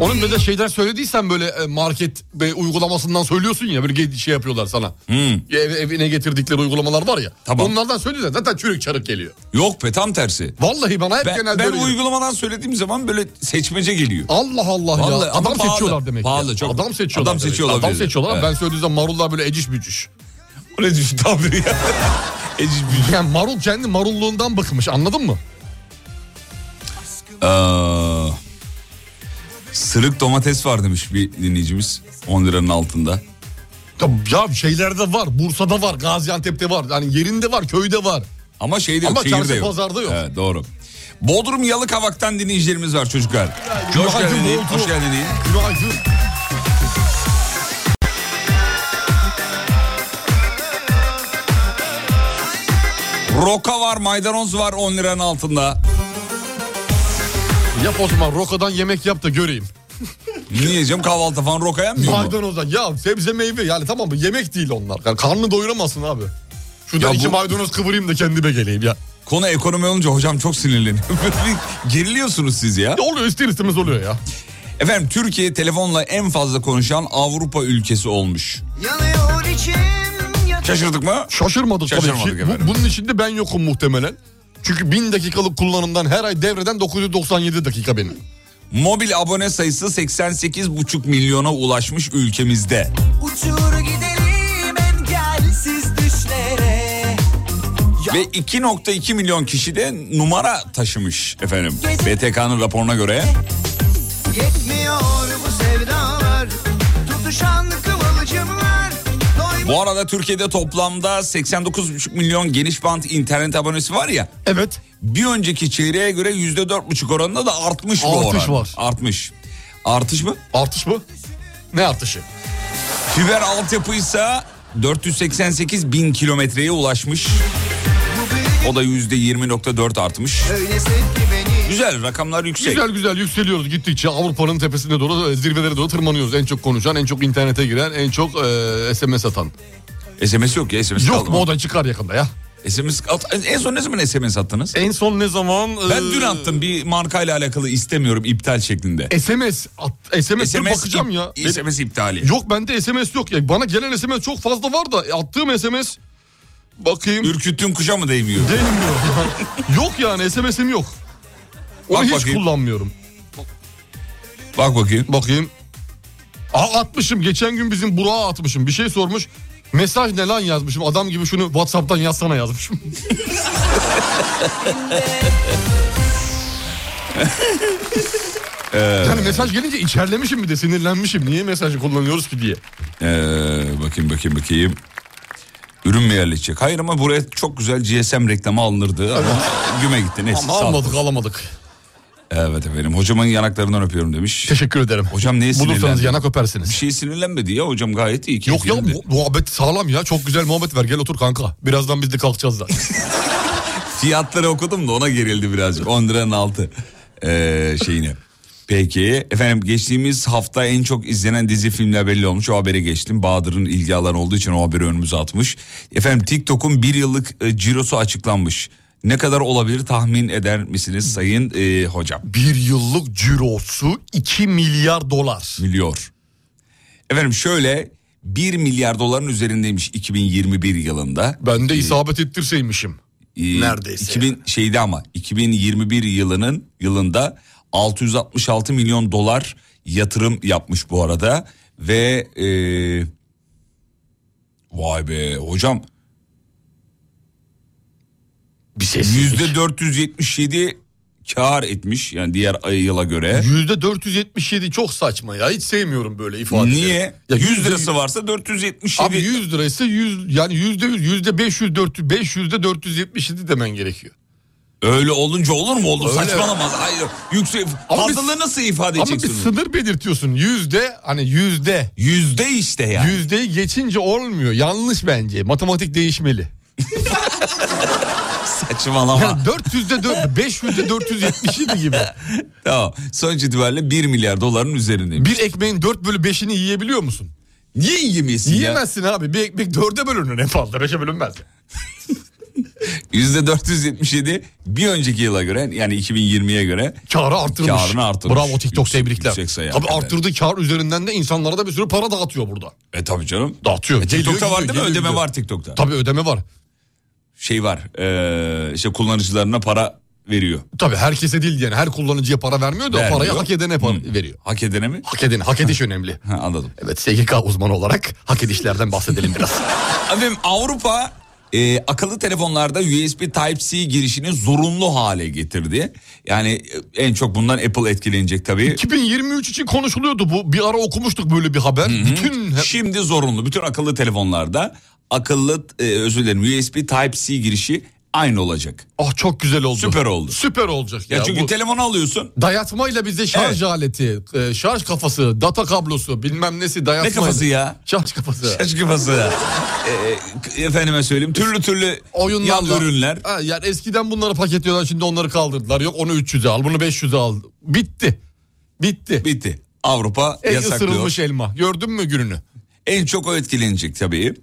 S7: Onun böyle şeyler söylediysen böyle e, market ve uygulamasından söylüyorsun ya böyle ge- şey yapıyorlar sana. Ev, evine getirdikleri uygulamalar var ya.
S6: Hmm. Tamam.
S7: Onlardan söylüyorsun zaten çürük çarık geliyor.
S6: Yok be tam tersi.
S7: Vallahi bana hep
S6: Ben,
S7: genelde
S6: ben
S7: öyle geliyor.
S6: uygulamadan söylediğim zaman böyle seçmece geliyor.
S7: Allah Allah
S6: Vallahi
S7: ya.
S6: ama
S7: Adam
S6: pahalı,
S7: seçiyorlar demek.
S6: pahalı
S7: ya.
S6: çok.
S7: Adam seçiyorlar.
S6: Adam
S7: demek.
S6: seçiyor
S7: Adam
S6: olabilir.
S7: seçiyorlar.
S6: Evet.
S7: Ben söylediğim zaman marullar böyle eciş bücüş.
S6: O ne düşün tabiri ya. Eciş bücüş.
S7: Yani marul kendi marulluğundan bıkmış anladın mı?
S6: Aa, Ee, sırık domates var demiş bir dinleyicimiz 10 liranın altında.
S7: Ya, ya şeylerde var. Bursa'da var. Gaziantep'te var. Yani yerinde var. Köyde var.
S6: Ama şeyde yok,
S7: Ama
S6: Şey şehirde
S7: çarşı
S6: yok.
S7: pazarda yok.
S6: Evet, doğru. Bodrum Yalıkavak'tan dinleyicilerimiz var çocuklar. Hoş
S7: Günaydın
S6: geldiniz.
S7: Bodrum.
S6: Hoş geldiniz.
S7: Günaydın.
S6: Roka var, maydanoz var 10 liranın altında.
S7: Yap o zaman rokadan yemek yap da göreyim.
S6: Niye yiyeceğim kahvaltı falan roka yenmiyor mu?
S7: Maydanozdan ya sebze meyve yani tamam mı yemek değil onlar. Yani karnını doyuramazsın abi. Şuradan
S6: Ya bu-
S7: iki maydanoz kıvırayım da kendime geleyim ya.
S6: Konu ekonomi olunca hocam çok sinirleniyor. Böyle bir Geriliyorsunuz siz ya.
S7: ya oluyor ister istemez oluyor ya.
S6: Efendim Türkiye telefonla en fazla konuşan Avrupa ülkesi olmuş.
S5: Yanıyor içim yakıyor.
S6: Şaşırdık mı?
S7: Şaşırmadık,
S6: Şaşırmadık
S7: tabii ki. Bu-
S6: efendim.
S7: bunun içinde ben yokum muhtemelen. Çünkü 1000 dakikalık kullanımdan her ay devreden 997 dakika benim.
S6: Mobil abone sayısı 88,5 milyona ulaşmış ülkemizde.
S5: Uçur gidelim engelsiz düşlere
S6: Ve 2.2 milyon kişi de numara taşımış efendim. BTK'nın raporuna göre.
S5: Yetmiyor bu sevdalar Tutuşan kıvılcımlar Doymuş
S6: Bu arada Türkiye'de toplamda 89,5 milyon geniş bant internet abonesi var ya.
S7: Evet.
S6: Bir önceki çeyreğe göre %4,5 oranında da artmış bu oran.
S7: Artış var.
S6: Artış. Artış mı?
S7: Artış mı? Ne artışı?
S6: Fiber altyapıysa 488 bin kilometreye ulaşmış. O da %20.4 artmış.
S5: öylesin ki beni
S6: Güzel rakamlar yüksek.
S7: Güzel güzel yükseliyoruz gittikçe Avrupa'nın tepesine doğru e, zirvelere doğru tırmanıyoruz. En çok konuşan, en çok internete giren, en çok e, SMS atan.
S6: SMS yok ya SMS
S7: Yok
S6: kaldı
S7: mu
S6: mı?
S7: o da çıkar yakında ya.
S6: SMS at- en son ne zaman SMS attınız?
S7: En son ne zaman? e,
S6: Ben dün attım bir markayla alakalı istemiyorum iptal şeklinde.
S7: SMS at, SMS, dur bakacağım
S6: ip-
S7: ya.
S6: SMS iptali.
S7: Yok bende SMS yok ya. Bana gelen SMS çok fazla var da e, attığım SMS bakayım.
S6: Ürküttüğün kuşa mı değmiyor?
S7: Değmiyor. yok yani SMS'im yok. Onu
S6: Bak
S7: hiç
S6: bakayım.
S7: kullanmıyorum.
S6: Bak bakayım.
S7: Bakayım. Aa, atmışım. Geçen gün bizim Burak'a atmışım. Bir şey sormuş. Mesaj ne lan yazmışım. Adam gibi şunu Whatsapp'tan yazsana yazmışım. yani mesaj gelince içerlemişim bir de sinirlenmişim. Niye mesajı kullanıyoruz ki diye.
S6: Ee, bakayım bakayım bakayım. Ürün mü yerleşecek? Hayır ama buraya çok güzel GSM reklamı alınırdı. Ama güme gitti neyse.
S7: Ama
S6: sağ olun.
S7: almadık alamadık.
S6: Evet efendim hocamın yanaklarından öpüyorum demiş.
S7: Teşekkür ederim.
S6: Hocam neye
S7: Bulursanız
S6: sinirlendi?
S7: yanak
S6: Bir
S7: öpersiniz.
S6: şey sinirlenmedi ya hocam gayet iyi.
S7: Yok ya
S6: keyifliydi.
S7: mu- muhabbet sağlam ya. Çok güzel muhabbet ver. Gel otur kanka. Birazdan biz de kalkacağız da.
S6: Fiyatları okudum da ona gerildi birazcık. 10 liranın altı ee, şeyine. Peki efendim geçtiğimiz hafta en çok izlenen dizi filmler belli olmuş. O habere geçtim. Bahadır'ın ilgi alanı olduğu için o haberi önümüze atmış. Efendim TikTok'un bir yıllık e, cirosu açıklanmış. Ne kadar olabilir tahmin eder misiniz sayın e, hocam?
S7: bir yıllık cirosu 2 milyar dolar.
S6: Milyor. Efendim şöyle 1 milyar doların üzerindeymiş 2021 yılında.
S7: Ben de isabet ettirseymişim.
S6: Ee,
S7: Neredeyse
S6: 2000 şeydi ama 2021 yılının yılında 666 milyon dolar yatırım yapmış bu arada ve e, vay be hocam bir yüzde 477 kar etmiş yani diğer ay- yıla göre.
S7: Yüzde 477 çok saçma ya. Hiç sevmiyorum böyle ifadeleri.
S6: Niye?
S7: Ya
S6: 100 lirası varsa 477.
S7: Abi 100 lirası 100 yani yüzde yüz, yüzde 500 400 500'de 477 demen gerekiyor.
S6: Öyle olunca olur mu oğlum?
S7: Öyle.
S6: Saçmalamaz. Hayır. Yüksek
S7: Ama bir-
S6: fazlalığı nasıl ifade
S7: Ama bir
S6: edeceksin?
S7: sınır belirtiyorsun. Yüzde hani yüzde.
S6: Yüzde işte yani.
S7: Yüzdeyi geçince olmuyor. Yanlış bence. Matematik değişmeli.
S6: Saçmalama.
S7: Yani 400'de 4, 500'de 477 gibi.
S6: Tamam. Sonuç itibariyle 1 milyar doların üzerindeymiş.
S7: Bir ekmeğin 4 bölü 5'ini yiyebiliyor musun?
S6: Niye yiyemeyesin ya?
S7: Yiyemezsin abi. Bir ekmek 4'e bölünür en fazla. 5'e bölünmez.
S6: Yüzde 477 bir önceki yıla göre yani 2020'ye göre
S7: Karı artırmış.
S6: Karını artırmış.
S7: Bravo TikTok tebrikler.
S6: yüksek sayı
S7: Tabii
S6: hakikaten.
S7: arttırdı kar üzerinden de insanlara da bir sürü para dağıtıyor burada.
S6: E tabii canım.
S7: Dağıtıyor.
S6: E, TikTok'ta
S7: Geliyor,
S6: var
S7: gidiyor,
S6: değil mi?
S7: geliyor,
S6: Ödeme
S7: gidiyor.
S6: var TikTok'ta.
S7: Tabii ödeme var.
S6: Şey var. E, işte kullanıcılarına para veriyor.
S7: Tabii herkese değil yani her kullanıcıya para vermiyor da
S6: Vermiyor.
S7: parayı hak edene para veriyor.
S6: Hak edene mi?
S7: Hak edene, hak ediş önemli.
S6: Ha, anladım.
S7: Evet SGK uzmanı olarak hak edişlerden bahsedelim biraz.
S6: Efendim Avrupa e, akıllı telefonlarda USB Type-C girişini zorunlu hale getirdi. Yani e, en çok bundan Apple etkilenecek tabii.
S7: 2023 için konuşuluyordu bu. Bir ara okumuştuk böyle bir haber. Bütün
S6: Şimdi zorunlu. Bütün akıllı telefonlarda akıllı e, özür dilerim USB Type-C girişi aynı olacak.
S7: ah çok güzel oldu.
S6: Süper oldu.
S7: Süper olacak ya.
S6: Ya çünkü
S7: bu
S6: telefonu alıyorsun.
S7: dayatmayla bize şarj aleti, e, şarj kafası, data kablosu, bilmem nesi dayatma.
S6: Ne kafası ya?
S7: Şarj kafası.
S6: Şaş kafası. Ee, efendime söyleyeyim. Türlü türlü
S7: Oyunlar.
S6: yan ürünler.
S7: Ha, yani eskiden bunları paketliyorlar şimdi onları kaldırdılar. Yok onu 300'e al bunu 500'e al. Bitti. Bitti.
S6: Bitti. Avrupa
S7: En
S6: yasaklıyor.
S7: ısırılmış elma. Gördün mü gününü?
S6: En çok o etkilenecek tabii.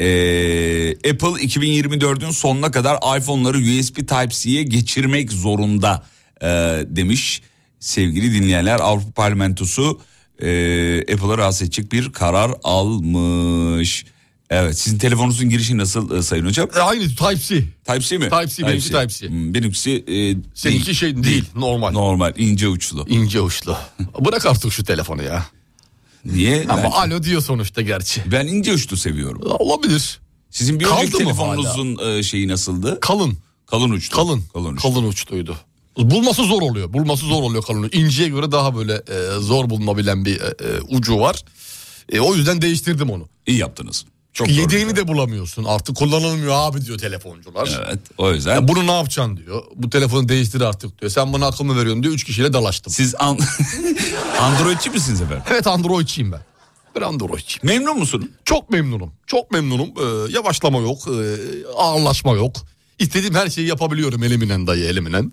S6: Ee, Apple 2024'ün sonuna kadar iPhone'ları USB Type-C'ye geçirmek zorunda e, demiş sevgili dinleyenler. Avrupa Parlamentosu e, Apple'ı rahatsız edecek bir karar almış. Evet sizin telefonunuzun girişi nasıl e, sayın hocam?
S7: E, Aynı Type-C.
S6: Type-C mi?
S7: Type-C, benimki Type-C.
S6: Hmm, benimkisi e,
S7: Seninki
S6: değil.
S7: şey değil normal.
S6: Normal ince uçlu.
S7: İnce uçlu. Bırak artık şu telefonu ya.
S6: Niye?
S7: Ama
S6: ben,
S7: alo diyor sonuçta gerçi.
S6: ben ince uçlu seviyorum.
S7: Olabilir.
S6: Sizin bir
S7: Kaldı
S6: önceki
S7: mı
S6: telefonunuzun e, şeyi nasıldı?
S7: Kalın.
S6: Kalın uçlu.
S7: Kalın.
S6: Kalın uçlu.
S7: Kalın uçluydu. Bulması zor oluyor. Bulması zor oluyor kalın. İnceye göre daha böyle e, zor bulunabilen bir e, e, ucu var. E, o yüzden değiştirdim onu.
S6: İyi yaptınız. Çok
S7: Çünkü
S6: doğru.
S7: yedeğini de bulamıyorsun. Artık kullanılmıyor abi diyor telefoncular.
S6: Evet o yüzden.
S7: Ya bunu ne yapacaksın diyor. Bu telefonu değiştir artık diyor. Sen bana akıl mı veriyorsun diyor. Üç kişiyle dalaştım.
S6: Siz an... Androidçi misiniz efendim?
S7: Evet Android'çiyim ben. Ben Android'çiyim.
S6: Memnun musunuz?
S7: Çok memnunum. Çok memnunum. Ee, yavaşlama yok. Ee, ağırlaşma yok. İstediğim her şeyi yapabiliyorum eliminen dayı eliminen.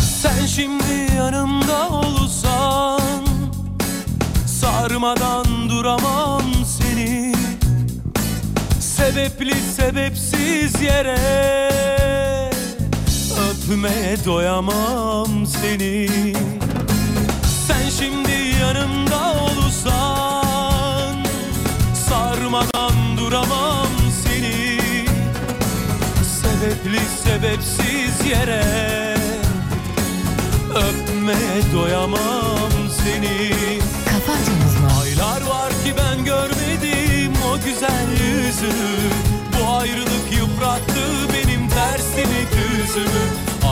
S12: Sen şimdi yanımda olsan Sarmadan duramam seni Sebepli sebepsiz yere Öpmeye doyamam seni Sen şimdi yanımda olsan Sarmadan duramam seni Sebepli sebepsiz yere Öpmeye doyamam seni
S1: Kafa Açan Uzman
S12: Aylar var ki ben görmedim o güzel yüzünü Bu ayrılık yıprattı benim tersimi düzümü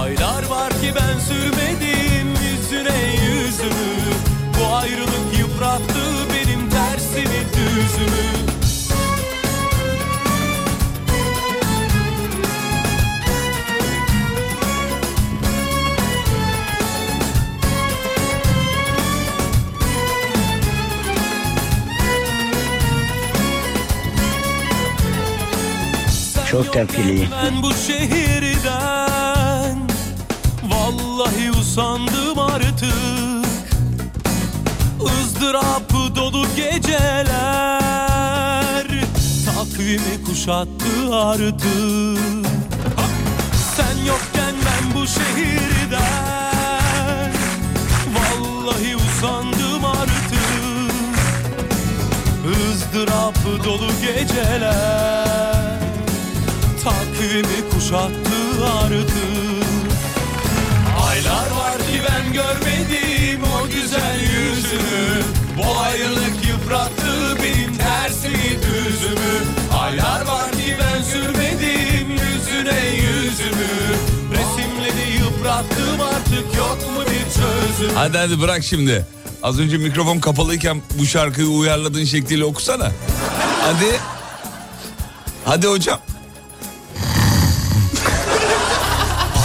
S12: Aylar var ki ben sürmedim yüzüne yüzümü Bu ayrılık yıprattı benim tersimi düzümü Çok tepkiliyim. Ben bu şehirden Vallahi Vallahi usandım artık ızdırap dolu geceler Takvimi kuşattı artık Sen yokken ben bu şehirden Vallahi usandım artık ızdırap dolu geceler Takvimi kuşattı artık Aylar var ki ben görmedim o güzel yüzünü Bu ayrılık yıprattı benim tersi düzümü Aylar var ki ben sürmedim yüzüne yüzümü Resimleri yıprattım artık yok mu bir çözüm
S6: Hadi hadi bırak şimdi. Az önce mikrofon kapalıyken bu şarkıyı uyarladığın şekliyle okusana. Hadi. Hadi hocam.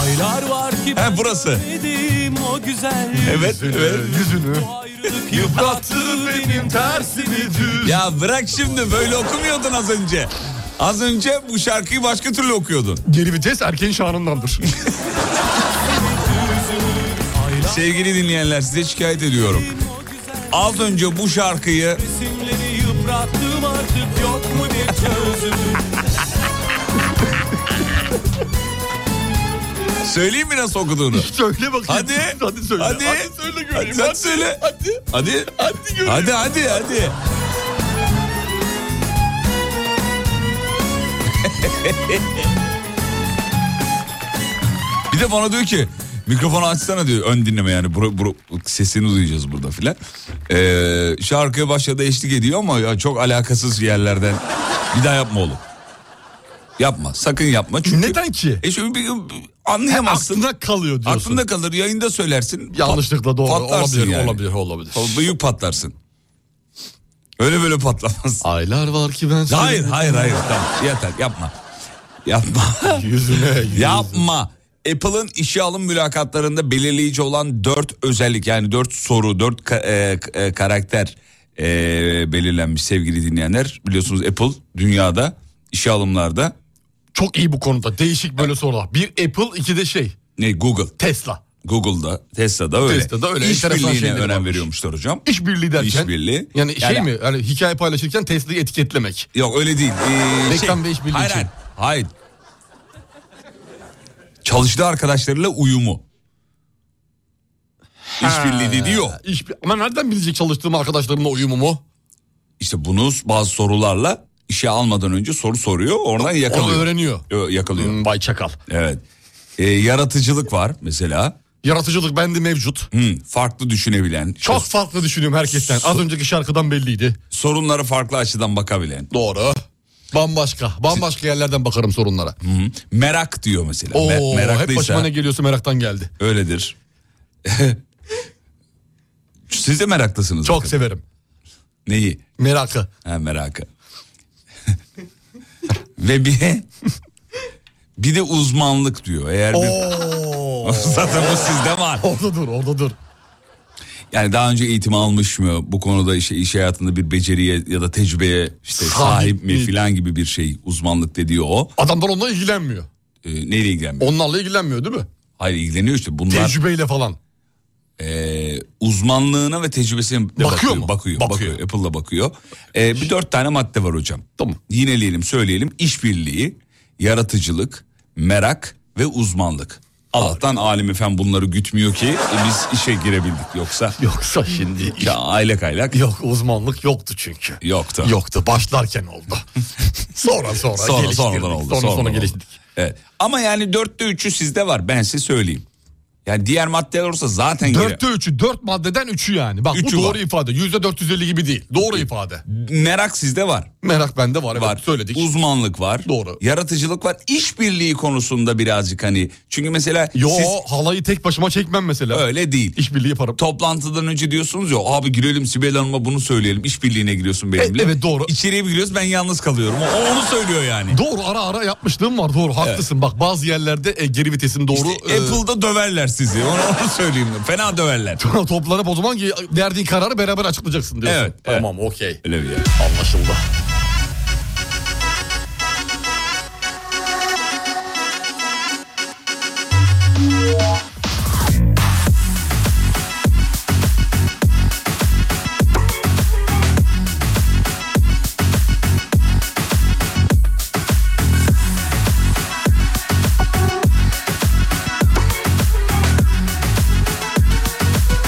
S12: Aylar var ki ben
S6: burası.
S12: görmedim o güzel
S6: Evet,
S7: Ee,
S6: evet. Yüzünü.
S12: Yıprattı benim tersimi düz.
S6: Ya bırak şimdi böyle okumuyordun az önce. Az önce bu şarkıyı başka türlü okuyordun.
S7: Geri vites erken şanındandır.
S6: Sevgili dinleyenler size şikayet ediyorum. Az önce bu şarkıyı
S12: Resimleri yıprattım artık yok mu bir çözüm
S6: söyleyeyim mi nasıl okuduğunu?
S7: söyle bakayım.
S6: Hadi.
S7: Hadi söyle.
S6: Hadi.
S7: söyle
S6: Hadi
S7: göreyim.
S6: sen söyle.
S7: Hadi.
S6: Hadi.
S7: Hadi göreyim.
S6: Hadi hadi hadi. Bir de bana diyor ki mikrofonu açsana diyor ön dinleme yani bro, bro, sesini duyacağız burada filan. Ee, şarkıya başladı eşlik ediyor ama ya çok alakasız yerlerden bir daha yapma oğlum. Yapma sakın yapma çünkü.
S7: Neden ki?
S6: E şimdi bir- anlayamazsın.
S7: Aklında kalıyor diyorsun.
S6: Aklında kalır yayında söylersin.
S7: Yanlışlıkla
S6: pat-
S7: doğru.
S6: patlarsın
S7: Olabilir,
S6: yani.
S7: olabilir, olabilir.
S6: Büyük patlarsın. Öyle böyle patlamaz.
S7: Aylar var ki ben
S6: Hayır hayır hayır tamam yeter yapma. Yapma.
S7: Yüzüne. yüz-
S6: yapma. Apple'ın işe alım mülakatlarında belirleyici olan dört özellik yani dört soru, dört ka- e, k- e, karakter e, belirlenmiş sevgili dinleyenler. Biliyorsunuz Apple dünyada işe alımlarda
S7: Çok iyi bu konuda. Değişik böyle sorular. Bir Apple, iki de şey.
S6: ne Google,
S7: Tesla.
S6: Google'da, Tesla'da öyle.
S7: Tesla'da öyle
S6: İş
S7: enteresan
S6: birliğine
S7: şeyleri
S6: önem
S7: varmış.
S6: veriyormuşlar hocam.
S7: İşbirliği derken.
S6: İşbirliği.
S7: Yani şey
S6: Yani-
S7: mi? Yani hikaye paylaşırken Tesla'yı etiketlemek.
S6: Yok öyle değil. Ee,
S7: Reklam ve işbirliği
S6: hayır,
S7: için.
S6: hayır, hayır. Çalıştığı arkadaşlarıyla uyumu. İşbirliği dediği yok.
S7: İş, ama nereden bilecek çalıştığım arkadaşlarımla uyumumu?
S6: İşte bunu bazı sorularla işe almadan önce soru soruyor. Oradan
S7: Onu
S6: yakalıyor.
S7: öğreniyor.
S6: Ö- Yakalıyor.
S7: Hmm, Bay Çakal.
S6: Evet. Ee, yaratıcılık var mesela.
S7: Yaratıcılık bende mevcut.
S6: Hı, farklı düşünebilen. işte
S7: Çok farklı düşünüyorum herkesten. Az önceki şarkıdan belliydi.
S6: Sorunlara farklı açıdan bakabilen.
S7: Doğru. Bambaşka. Bambaşka yerlerden bakarım sorunlara.
S6: Hı. Merak diyor mesela.
S7: Oo,
S6: Me-
S7: hep başıma ne geliyorsa meraktan geldi.
S6: Öyledir. Siz de meraklısınız.
S7: Çok
S6: bakın.
S7: severim.
S6: Neyi?
S7: Merakı.
S6: Ha merakı. Ve bir bir de uzmanlık diyor. Eğer bir
S7: Oo.
S6: zaten bu sizde var.
S7: orada dur, orada dur.
S6: Yani daha önce eğitim almış mı? Bu konuda işte iş hayatında bir beceriye ya da tecrübeye işte sahip
S7: Sahip
S6: mi
S7: mi?
S6: filan gibi bir şey uzmanlık dediği o.
S7: Adamlar onunla ilgilenmiyor.
S6: Ee, neyle ilgilenmiyor?
S7: Onlarla ilgilenmiyor değil mi?
S6: Hayır ilgileniyor işte. Bunlar
S7: Tecrübeyle falan.
S6: Ee, uzmanlığına ve tecrübesine de bakıyor,
S7: Bakıyor
S6: bakıyor,
S7: mu?
S6: bakıyor,
S7: Bakıyor.
S6: bakıyor. Apple'da bakıyor. Ee, bir dört tane madde var hocam.
S7: Tamam.
S6: Yineleyelim, söyleyelim. İşbirliği, yaratıcılık, merak ve uzmanlık. Allah'tan alim efendim bunları gütmüyor ki e, biz işe girebildik yoksa.
S7: Yoksa şimdi
S6: Ya aylak aylak.
S7: yok uzmanlık yoktu çünkü.
S6: Yoktu.
S7: Yoktu. Başlarken oldu. sonra sonra,
S6: Sonra
S7: geliştirdik.
S6: sonradan oldu.
S7: Sonra sonra,
S6: sonradan oldu.
S7: geliştirdik.
S6: Evet. Ama yani dörtte üçü sizde var ben size söyleyeyim. Yani diğer maddeler olursa zaten gire-
S7: Dörtte üçü, dört maddeden üçü yani. Bak
S6: Üçü
S7: bu
S6: var.
S7: doğru ifade. Yüzde 450 gibi değil. Doğru ifade.
S6: Merak sizde var.
S7: Merak bende var. Evet,
S6: var.
S7: Söyledik.
S6: Uzmanlık var.
S7: Doğru.
S6: Yaratıcılık var. İşbirliği konusunda birazcık hani. Çünkü mesela
S7: Yo
S6: siz
S7: halayı tek başıma çekmem mesela.
S6: öyle değil.
S7: İşbirliği yaparım.
S6: Toplantıdan önce diyorsunuz ya abi girelim Sibel Hanım'a bunu söyleyelim. İşbirliğine giriyorsun benimle.
S7: E- evet, doğru.
S6: İçeriye bir giriyoruz ben yalnız kalıyorum. O o onu söylüyor yani.
S7: Doğru ara ara yapmışlığım var doğru haklısın. Bak bazı yerlerde e, geri vitesin doğru.
S6: İşte
S7: e,
S6: Apple'da döverler sizi. Onu, onu söyleyeyim. Fena döverler.
S7: toplanıp o zaman ki verdiğin kararı beraber açıklayacaksın diyorsun.
S6: Evet, evet.
S7: Tamam okey.
S6: Öyle bir yer.
S7: Anlaşıldı.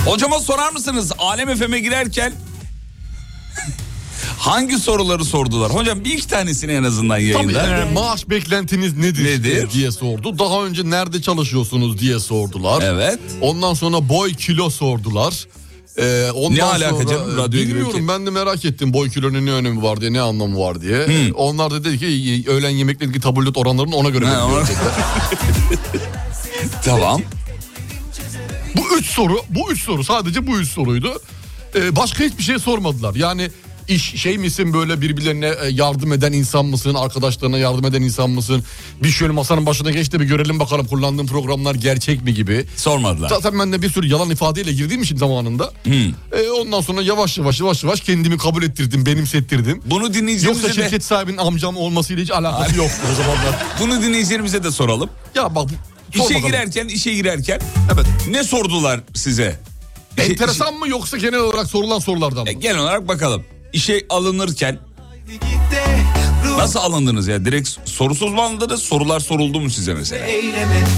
S6: Hocama sorar mısınız Alem FM'e girerken hangi soruları sordular? Hocam bir iki tanesini en azından
S7: Tabii
S6: yayınlar.
S7: yani E, maaş beklentiniz nedir, diye sordu. Daha önce nerede çalışıyorsunuz diye sordular. Evet. Ondan sonra boy kilo sordular. Ee, ondan
S6: Ne alaka
S7: sonra, e,
S6: canım, radyoya
S7: Bilmiyorum
S6: girerken?
S7: ben de merak ettim boy kilonun ne önemi var diye ne anlamı var diye. E, Onlar da dedi ki öğlen yemeklerindeki tabulot oranlarını ona göre
S6: Ha, ona-
S7: belirliyoruz dediler.
S6: Tamam.
S7: Bu üç soru, bu üç soru sadece bu üç soruydu. Ee, başka hiçbir şey sormadılar. Yani iş şey misin böyle birbirlerine e, yardım eden insan mısın? Arkadaşlarına yardım eden insan mısın? Bir şöyle masanın başına geç de bir görelim bakalım kullandığın programlar gerçek mi gibi.
S6: Sormadılar.
S7: Zaten ben de bir sürü yalan ifadeyle girdiğim için zamanında. Ee, ondan sonra yavaş yavaş yavaş yavaş kendimi kabul ettirdim, benimsettirdim.
S6: Bunu dinleyicilerimize
S7: Yoksa
S6: de-
S7: şirket sahibinin amcam olmasıyla hiç alakası yok o zamanlar.
S6: Bunu dinleyicilerimize de soralım.
S7: Ya bak
S6: İşe girerken işe girerken ne sordular size? E,
S7: Enteresan mı yoksa genel olarak sorulan sorulardan mı?
S6: Genel olarak bakalım. İşe alınırken nasıl alındınız ya? Direkt sorusuz mu alındınız? Sorular soruldu mu size mesela?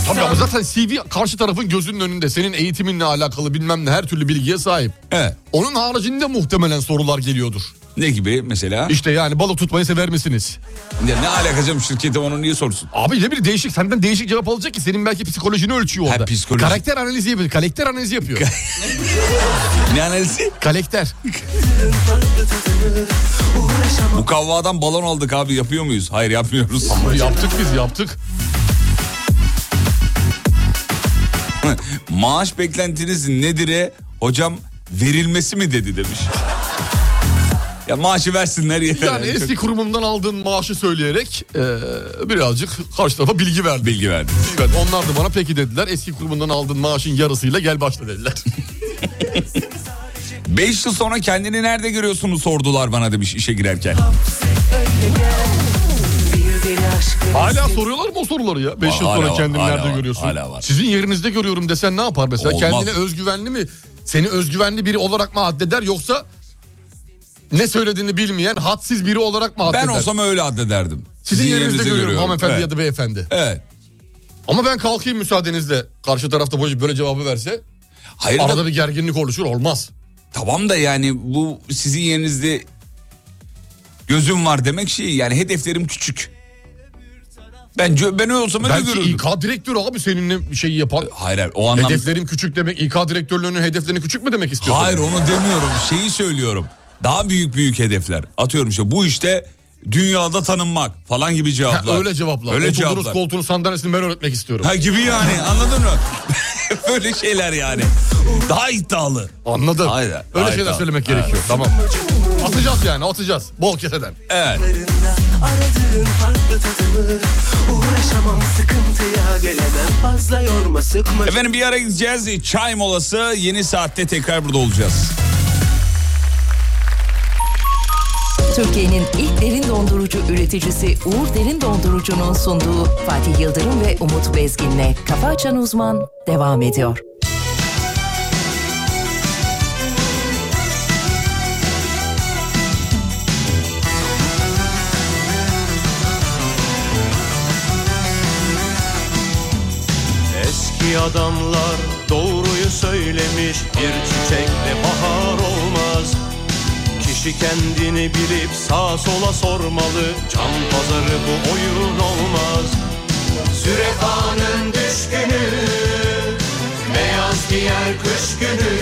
S7: Tabii ama zaten CV karşı tarafın gözünün önünde. Senin eğitiminle alakalı bilmem ne her türlü bilgiye sahip.
S6: Evet.
S7: Onun haricinde muhtemelen sorular geliyordur.
S6: Ne gibi mesela?
S7: İşte yani balık tutmayı sever misiniz?
S6: Ya ne alakacım şirkete onu niye sorsun?
S7: Abi ne bir değişik senden değişik cevap alacak ki senin belki psikolojini ölçüyor orada.
S6: psikoloji.
S7: Karakter analizi yapıyor. Karakter analizi yapıyor.
S6: ne analizi?
S7: Karakter.
S6: Bu kavvadan balon aldık abi yapıyor muyuz? Hayır yapmıyoruz.
S7: yaptık biz yaptık.
S6: Maaş beklentiniz nedir'e hocam verilmesi mi dedi demiş. ya maaşı versinler yeter.
S7: Yani
S6: Çok-
S7: eski kurumumdan aldığın maaşı söyleyerek eee, birazcık karşı tarafa bilgi verdim.
S6: Bilgi verdim.
S7: Onlar da bana peki dediler. Eski kurumundan aldığın maaşın yarısıyla gel başla dediler.
S6: Beş yıl sonra kendini nerede görüyorsunuz sordular bana demiş işe girerken.
S7: Hala soruyorlar mı o soruları ya? 5 yıl
S6: Hala
S7: sonra
S6: var,
S7: kendini
S6: hala
S7: nerede
S6: var,
S7: görüyorsun?
S6: hala var.
S7: Sizin yerinizde görüyorum desen ne yapar mesela?
S6: Olmaz.
S7: Kendine özgüvenli mi? Seni özgüvenli biri olarak mı addeder yoksa ne söylediğini bilmeyen hadsiz biri olarak mı addeder?
S6: Ben olsam öyle addederdim.
S7: Sizin yerinizde görüyorum, hanımefendi
S6: Evet.
S7: ya da beyefendi.
S6: Evet.
S7: Ama ben kalkayım müsaadenizle. Karşı tarafta böyle cevabı verse
S6: Hayır
S7: arada
S6: da-
S7: bir gerginlik oluşur olmaz.
S6: Tamam da yani bu sizin yerinizde gözüm var demek şey yani hedeflerim küçük. Bence ben öyle olsam öyle
S7: Belki
S6: görürdüm.
S7: İK direktörü abi seninle bir şeyi yapan.
S6: Hayır hayır o anlamda.
S7: Hedeflerim küçük demek İK direktörlüğünün hedeflerini küçük mü demek istiyorsun?
S6: Hayır onu demiyorum. Şeyi söylüyorum. Daha büyük büyük hedefler. Atıyorum işte bu işte dünyada tanınmak falan gibi cevaplar.
S7: Ha, öyle cevaplar.
S6: Öyle
S7: Oturduğunuz
S6: cevaplar.
S7: koltuğunu sandalyesini ben öğretmek istiyorum.
S6: Ha gibi yani anladın mı? Böyle şeyler yani. Daha iddialı.
S7: Anladım.
S6: Hayır,
S7: Öyle
S6: daha
S7: şeyler
S6: iddialı.
S7: söylemek
S6: Evet.
S7: gerekiyor. Tamam. Atacağız yani atacağız. Bol keseden.
S6: Evet.
S13: Aradığım farklı tadımı Uğraşamam sıkıntıya gelemem Fazla yorma sıkma
S6: Efendim bir ara gideceğiz. Çay molası yeni saatte tekrar burada olacağız.
S1: Türkiye'nin ilk derin dondurucu üreticisi Uğur Derin Dondurucu'nun sunduğu Fatih Yıldırım ve Umut Bezgin'le Kafa Açan Uzman devam ediyor.
S12: Eski adamlar doğruyu söylemiş Bir çiçekle bahar olmaz Kişi kendini bilip sağa sola sormalı Can pazarı bu oyun olmaz Sürefanın düşkünü Beyaz giyer kış günü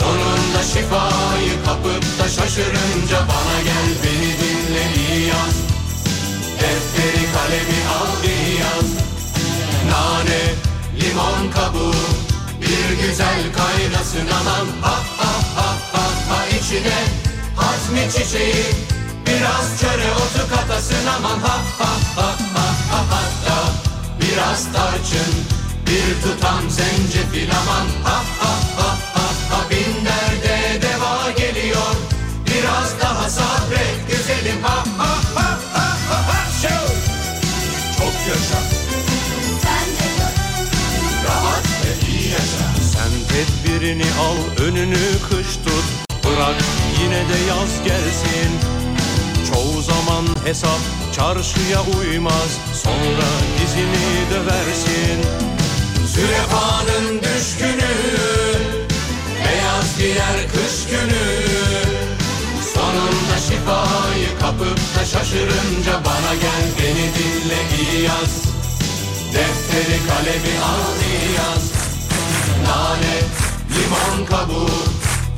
S12: Sonunda şifayı kapıp da şaşırınca Bana gel beni dinle iyi yaz Defteri kalemi al iyi yaz Nane, limon kabuğu Bir güzel kaynasın aman Ha ha ha ha ha içine Hazmi çiçeği Biraz çöre otu katasın aman Ha ha ha ha ha hatta Biraz tarçın Bir tutam zencefil aman Ha ha ha ha ha Bin derde deva geliyor Biraz daha sabret güzelim Ha ha ha ha ha ha Şov! Çok yaşa rahat ve iyi yaşa. Sen tedbirini al önünü kış tut Bırak yine de yaz gelsin Çoğu zaman hesap çarşıya uymaz Sonra dizini döversin Sürefanın düşkünü eskiyer kış günü Sonunda şifayı kapıp da şaşırınca bana gel beni dinle iyi yaz Defteri kalemi al iyi yaz Nane, limon kabuğu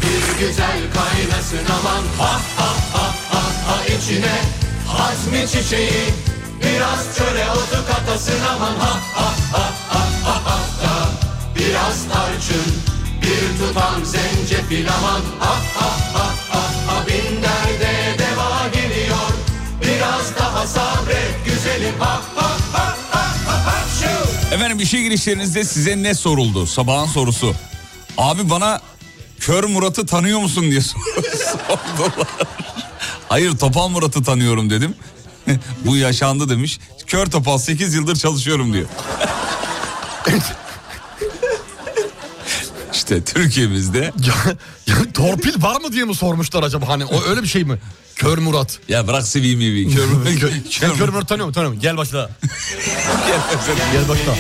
S12: bir güzel kaynasın aman Ha ha ha ha ha içine hazmi çiçeği Biraz çöre otu katasın aman ha ha ha ha ha ha da. Biraz tarçın bir tutam zencefil aman ha ha ha ha ha Bin derde deva geliyor Biraz daha sabret güzelim ha ha ha ha ha ha Şu.
S6: Efendim işe girişlerinizde size ne soruldu? Sabahın sorusu. Abi bana Kör Murat'ı tanıyor musun diye sordular. Hayır Topal Murat'ı tanıyorum dedim. Bu yaşandı demiş. Kör Topal 8 yıldır çalışıyorum diyor. işte Türkiye'mizde
S7: Torpil var mı diye mi sormuşlar acaba hani o öyle bir şey mi? Kör Murat.
S6: Ya bırak seveyim bir
S7: Kör, Sen Kör Murat tanıyor musun? Tanıyorum. Gel başla.
S6: Gel başla.
S7: Gel başla.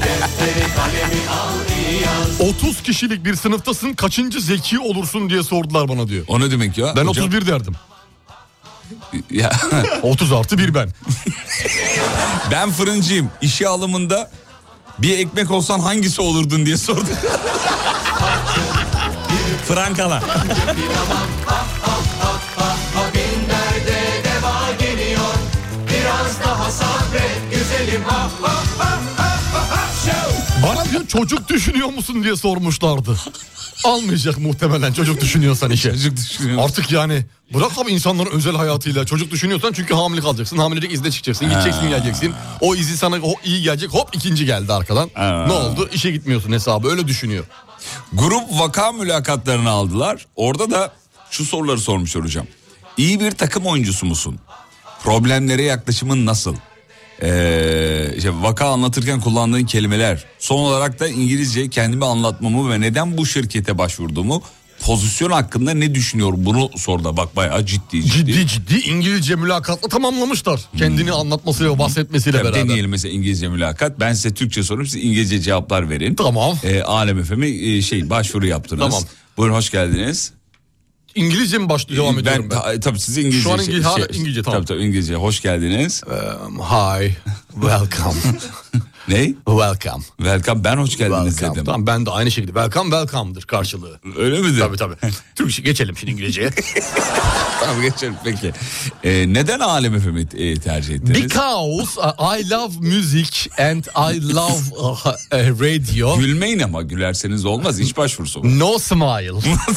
S12: Defteri kalemi al iyi yaz
S7: 30 kişilik bir sınıftasın kaçıncı zeki olursun diye sordular bana diyor.
S6: O ne demek ya?
S7: Ben
S6: Hocam-
S7: 31 derdim.
S6: Ya.
S7: 30 artı bir ben.
S6: ben fırıncıyım. İşe alımında bir ekmek olsan hangisi olurdun diye sordu. Frankala.
S12: Bin derde deva geliyor Biraz daha sabret güzelim ha ha ha ha ha ha Show!
S7: Bana diyor çocuk düşünüyor musun diye sormuşlardı. Almayacak muhtemelen çocuk düşünüyorsan işe. Çocuk düşünüyor. Artık yani bırak abi insanların özel hayatıyla çocuk düşünüyorsan çünkü hamile kalacaksın. Hamilelik izne çıkacaksın. Gideceksin
S6: Ha.
S7: geleceksin. O izi sana o iyi gelecek hop ikinci geldi arkadan. Ne oldu? İşe gitmiyorsun hesabı öyle düşünüyor.
S6: Grup vaka mülakatlarını aldılar. Orada da şu soruları sormuş hocam. İyi bir takım oyuncusu musun? Problemlere yaklaşımın nasıl? Ee, işte vaka anlatırken kullandığın kelimeler. Son olarak da İngilizce kendimi anlatmamı ve neden bu şirkete başvurduğumu pozisyon hakkında ne düşünüyorum bunu sordu. Bak bayağı ciddi ciddi. Hmm.
S7: Ciddi ciddi İngilizce mülakatla tamamlamışlar. Kendini anlatmasıyla bahsetmesiyle
S6: Tabii
S7: beraber.
S6: Deneyelim mesela İngilizce mülakat. Ben size Türkçe sorayım siz İngilizce cevaplar verin.
S7: Tamam.
S6: Ee, Alem FM'e e, şey başvuru yaptınız.
S7: Tamam.
S6: Buyurun hoş geldiniz.
S7: İngilizce mi başlıyor devam ediyorum ben?
S6: ta- tabii siz İngilizce.
S7: Şu an İngilizce,
S6: şey-
S7: hala İngilizce tamam. Um,
S6: Tabii tabii İngilizce. Hoş geldiniz.
S7: hi. Welcome.
S6: ne?
S7: Welcome.
S6: Welcome. Ben hoş geldiniz dedim.
S7: Tamam ben de aynı şekilde welcome welcome'dır karşılığı.
S6: Öyle midir?
S7: Tabii tabii. Türkçe geçelim şimdi İngilizceye.
S6: tamam geçelim peki. Ee, neden Alem FM'i e, tercih ettiniz?
S7: Because uh, I love music and I love uh, uh, radio.
S6: Gülmeyin ama gülerseniz olmaz. İş başvurusu.
S7: No smile.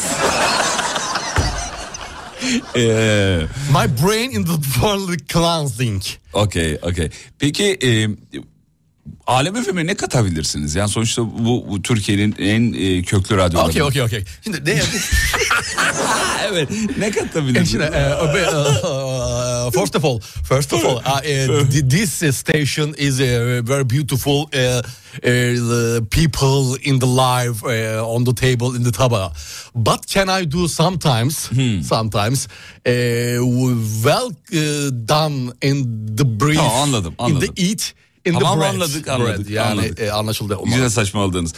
S6: Ee,
S7: My brain in the world cleansing.
S6: Okey okey. Peki e, Alem FM'e ne katabilirsiniz? Yani sonuçta bu, bu Türkiye'nin en e, köklü radyoları.
S7: Okey okey okey. Şimdi ne
S6: evet. Ne katabilirsiniz?
S7: Şimdi, e, e, e, first of all, first of all, uh, e, th- this station is uh, very beautiful. Uh, uh, the people in the live uh, on the table in the taba. But can I do sometimes?
S6: Hmm.
S7: Sometimes uh, well uh, done in the brief.
S6: Tamam, anladım, anladım.
S7: In the eat. In
S6: Tamam,
S7: the bread.
S6: anladık, anladık,
S7: Bread, Yani
S6: anladık.
S7: e, anlaşıldı. umarım.
S6: Yine saçmaladınız. Ee,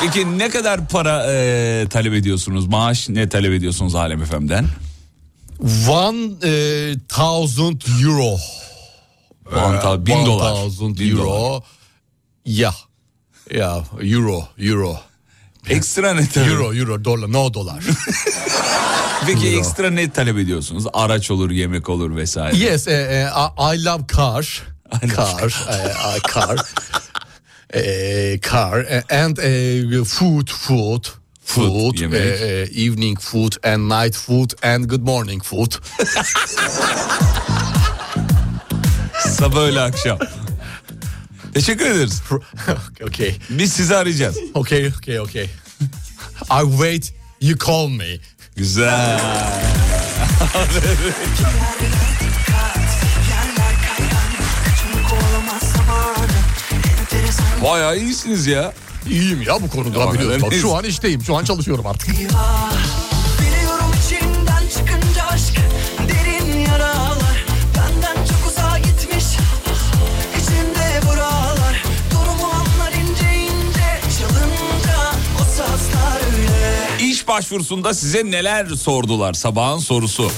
S6: peki ne kadar para e, talep ediyorsunuz? Maaş ne talep ediyorsunuz Alem FM'den?
S7: One e, thousand euro.
S6: One thou- bin
S7: one
S6: dolar.
S7: thousand
S6: Bin
S7: euro.
S6: dolar.
S7: Yeah. Yeah. Euro. Euro.
S6: Ekstra ne talep?
S7: Euro. Euro. Dolar. No dolar.
S6: Peki ekstra ne talep ediyorsunuz? Araç olur, yemek olur vesaire.
S7: yes. e, e, I, I love car. car. e, I- car. E, car. e, and e, food. Food. Food, e,
S6: yemek.
S7: e, evening food and night food and good morning food.
S6: Sabah öyle akşam. Teşekkür ederiz.
S7: okay.
S6: Biz sizi arayacağız.
S7: Okay, okay, okay. I wait, you call me.
S6: Güzel. Bayağı iyisiniz ya.
S7: İyiyim ya bu konuda
S6: Tamam,
S7: biliyorum. Bak,
S6: evet.
S7: şu an işteyim, şu an çalışıyorum artık.
S14: Biliyorum içinden çıkınca aşk derin yaralar Benden çok uzağa gitmiş içinde buralar Durumu anlar ince ince çalınca o
S6: başvurusunda size neler sordular sabahın sorusu.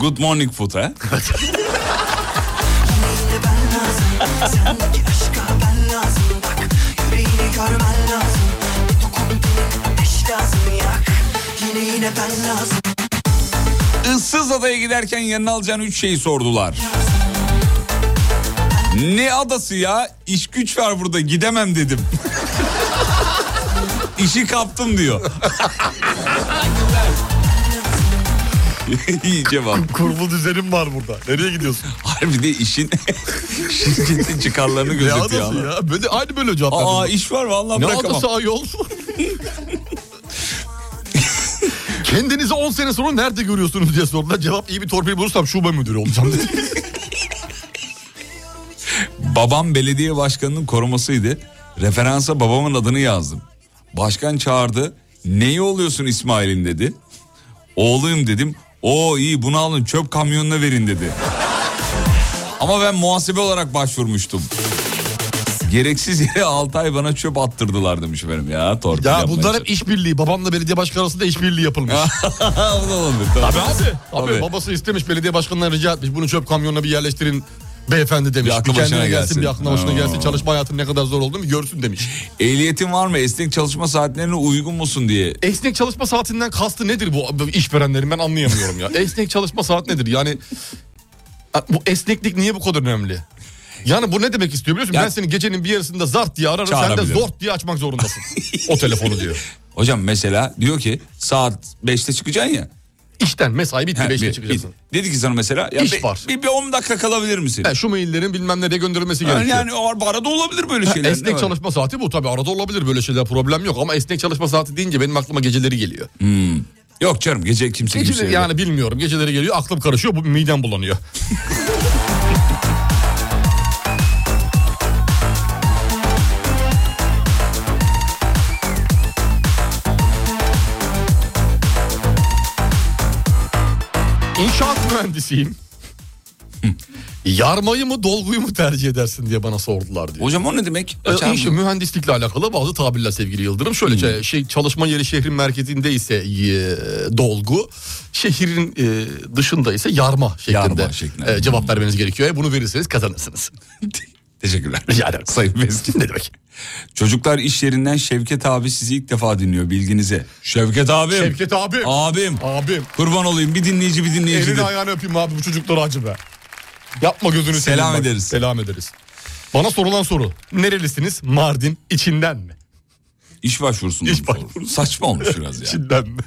S6: Good morning food ha?
S14: Sendeki aşka ben lazım bak Yüreğini görmen lazım Dokun benim ateş lazım yak Yine yine ben lazım
S6: Issız adaya giderken yanına alacağın üç şeyi sordular. Ne adası ya? İş güç var burada gidemem dedim. İşi kaptım diyor. İyi cevap.
S7: Kurulu düzenim var burada. Nereye gidiyorsun?
S6: Harbi de işin şirketin çıkarlarını
S7: Ne
S6: gözetiyor.
S7: adası
S6: ama.
S7: ya? Böyle, aynı böyle cevap verdim.
S6: Aa iş var vallahi
S7: Ne
S6: bırakamam.
S7: adası ayol? Kendinizi 10 sene sonra nerede görüyorsunuz diye sordular. Cevap iyi bir torpil bulursam şube müdürü olacağım dedi.
S6: Babam belediye başkanının korumasıydı. Referansa babamın adını yazdım. Başkan çağırdı. Neyi oluyorsun İsmail'im dedi. Oğluyum dedim. O iyi bunu alın çöp kamyonuna verin dedi. Ama ben muhasebe olarak başvurmuştum. Gereksiz yere 6 ay bana çöp attırdılar demiş benim ya. Torpil
S7: ya
S6: yapmaya
S7: bunlar hep işbirliği. Babamla belediye başkanı arasında işbirliği yapılmış.
S6: çalışıyor. Olabilir, tabii.
S7: Tabii abi. Abi
S6: Tabii.
S7: babası istemiş belediye başkanından rica etmiş. Bunu çöp kamyonuna bir yerleştirin beyefendi demiş.
S6: Bir aklı
S7: kendine
S6: başına gelsin.
S7: Bir aklına başına
S6: Ha.
S7: gelsin. Çalışma hayatının ne kadar zor olduğunu bir görsün demiş.
S6: Ehliyetin var mı? Esnek çalışma saatlerine uygun musun diye.
S7: Esnek çalışma saatinden kastı nedir bu bu işverenlerin ben anlayamıyorum ya. Esnek çalışma saat nedir? Yani bu esneklik niye bu kadar önemli? Yani bu ne demek istiyor biliyor musun? ben seni gecenin bir yarısında zart diye ararım sen de
S6: Çağırabilirim.
S7: zort diye açmak zorundasın. o telefonu diyor.
S6: Hocam mesela diyor ki saat 5'te çıkacaksın ya.
S7: İşten mesai bitti
S6: Ha,
S7: 5'te
S6: bir-
S7: çıkacaksın.
S6: bir- Dedi ki sana mesela ya
S7: İş
S6: bir-
S7: var.
S6: Bir, bir 10 dakika kalabilir misin?
S7: Ha, şu maillerin bilmem nereye gönderilmesi
S6: Yani-
S7: gerekiyor.
S6: yani o arada olabilir böyle
S7: Ha,
S6: şeyler, değil
S7: Esnek
S6: mi?
S7: çalışma saati bu tabii arada olabilir böyle şeyler problem yok ama esnek çalışma saati deyince benim aklıma geceleri geliyor.
S6: Hmm. Yok canım gece kimse
S7: Geceleri-
S6: kimseye-
S7: yani bilmiyorum geceleri geliyor aklım karışıyor bu midem bulanıyor. İnşaat mühendisiyim. Yarmayı mı dolguyu mu tercih edersin diye bana sordular diye.
S6: Hocam o ne demek?
S7: Ee,
S6: Açar
S7: iş-
S6: mı?
S7: mühendislikle alakalı bazı tabirler sevgili Yıldırım. Şöyle
S6: Hmm.
S7: şey- şey çalışma yeri şehrin merkezinde ise e, dolgu, şehrin e, dışında ise yarma şeklinde, e, cevap vermeniz gerekiyor. E, Bunu verirseniz kazanırsınız.
S6: Teşekkürler. Rica ederim. Sayın Meskin. Ne demek? Çocuklar iş yerinden Şevket abi sizi ilk defa dinliyor bilginize. Şevket abim.
S7: Şevket abim.
S6: Abim.
S7: Abim.
S6: Kurban olayım bir dinleyici bir dinleyici.
S7: Elini ayağını öpeyim abi bu çocuklara acı be. Yapma gözünü seveyim
S6: Selam
S7: bak.
S6: ederiz.
S7: Selam ederiz. Bana sorulan soru. Nerelisiniz? Mardin içinden mi?
S6: İş başvurusundan
S7: İş başvurusu.
S6: Saçma olmuş biraz ya.
S7: İçinden mi?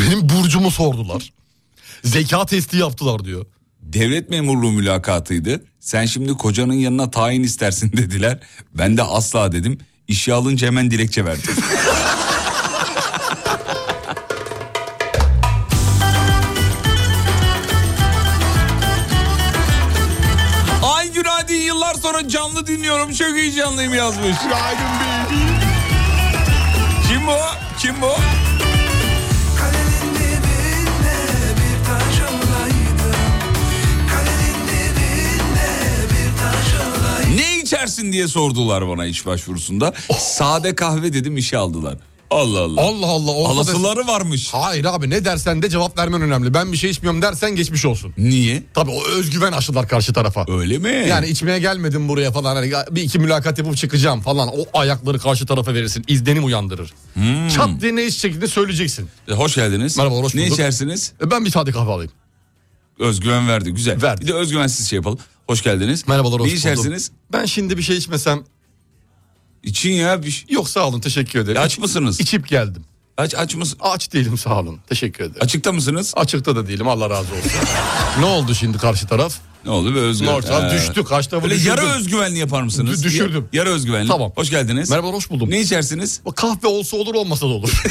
S7: Benim burcumu sordular. Zeka testi yaptılar diyor.
S6: Devlet memurluğu mülakatıydı. Sen şimdi kocanın yanına tayin istersin dediler. Ben de asla dedim. İşe alınca hemen dilekçe verdim. Ay Günaydın yıllar sonra canlı dinliyorum. Çok heyecanlıyım yazmış.
S7: Günaydın
S6: Kim bu? Kim bu? Ne içersin diye sordular bana iş başvurusunda. Sade kahve dedim işe aldılar. Allah Allah.
S7: Oh. Allah Allah. ortada-
S6: Alasıları varmış.
S7: Hayır abi ne dersen de cevap vermen önemli. Ben bir şey içmiyorum dersen geçmiş olsun.
S6: Niye?
S7: Tabii o özgüven aşılar karşı tarafa.
S6: Öyle mi?
S7: Yani içmeye gelmedim buraya falan. Hani bir iki mülakat yapıp çıkacağım falan. O ayakları karşı tarafa verirsin. İzlenim uyandırır.
S6: Hmm.
S7: Çat diye ne iç şeklinde söyleyeceksin.
S6: E, Hoş geldiniz.
S7: Merhabalar, hoş
S6: Ne
S7: bulduk.
S6: içersiniz?
S7: E, Ben bir sade kahve alayım.
S6: Özgüven verdi. Güzel. Verdi. Bir de özgüvensiz şey yapalım. Hoş geldiniz.
S7: Merhabalar hoş
S6: Ne içersiniz?
S7: buldum. Ben şimdi bir şey içmesem.
S6: İçin ya bir şey.
S7: Yok sağ olun teşekkür ederim.
S6: aç mısınız?
S7: İçip geldim.
S6: Aç aç mısın?
S7: Aç değilim sağ olun. Teşekkür ederim.
S6: Açıkta mısınız?
S7: Açıkta da değilim Allah razı olsun. ne oldu şimdi karşı taraf?
S6: Ne oldu be özgüven?
S7: Nortal
S6: Ee,
S7: düştü kaçta
S6: Böyle yarı özgüvenli yapar mısınız?
S7: Dü- düşürdüm.
S6: Ya- Yarı özgüvenli.
S7: Tamam.
S6: Hoş geldiniz.
S7: Merhaba hoş buldum.
S6: Ne içersiniz?
S7: Kahve olsa olur olmasa da olur.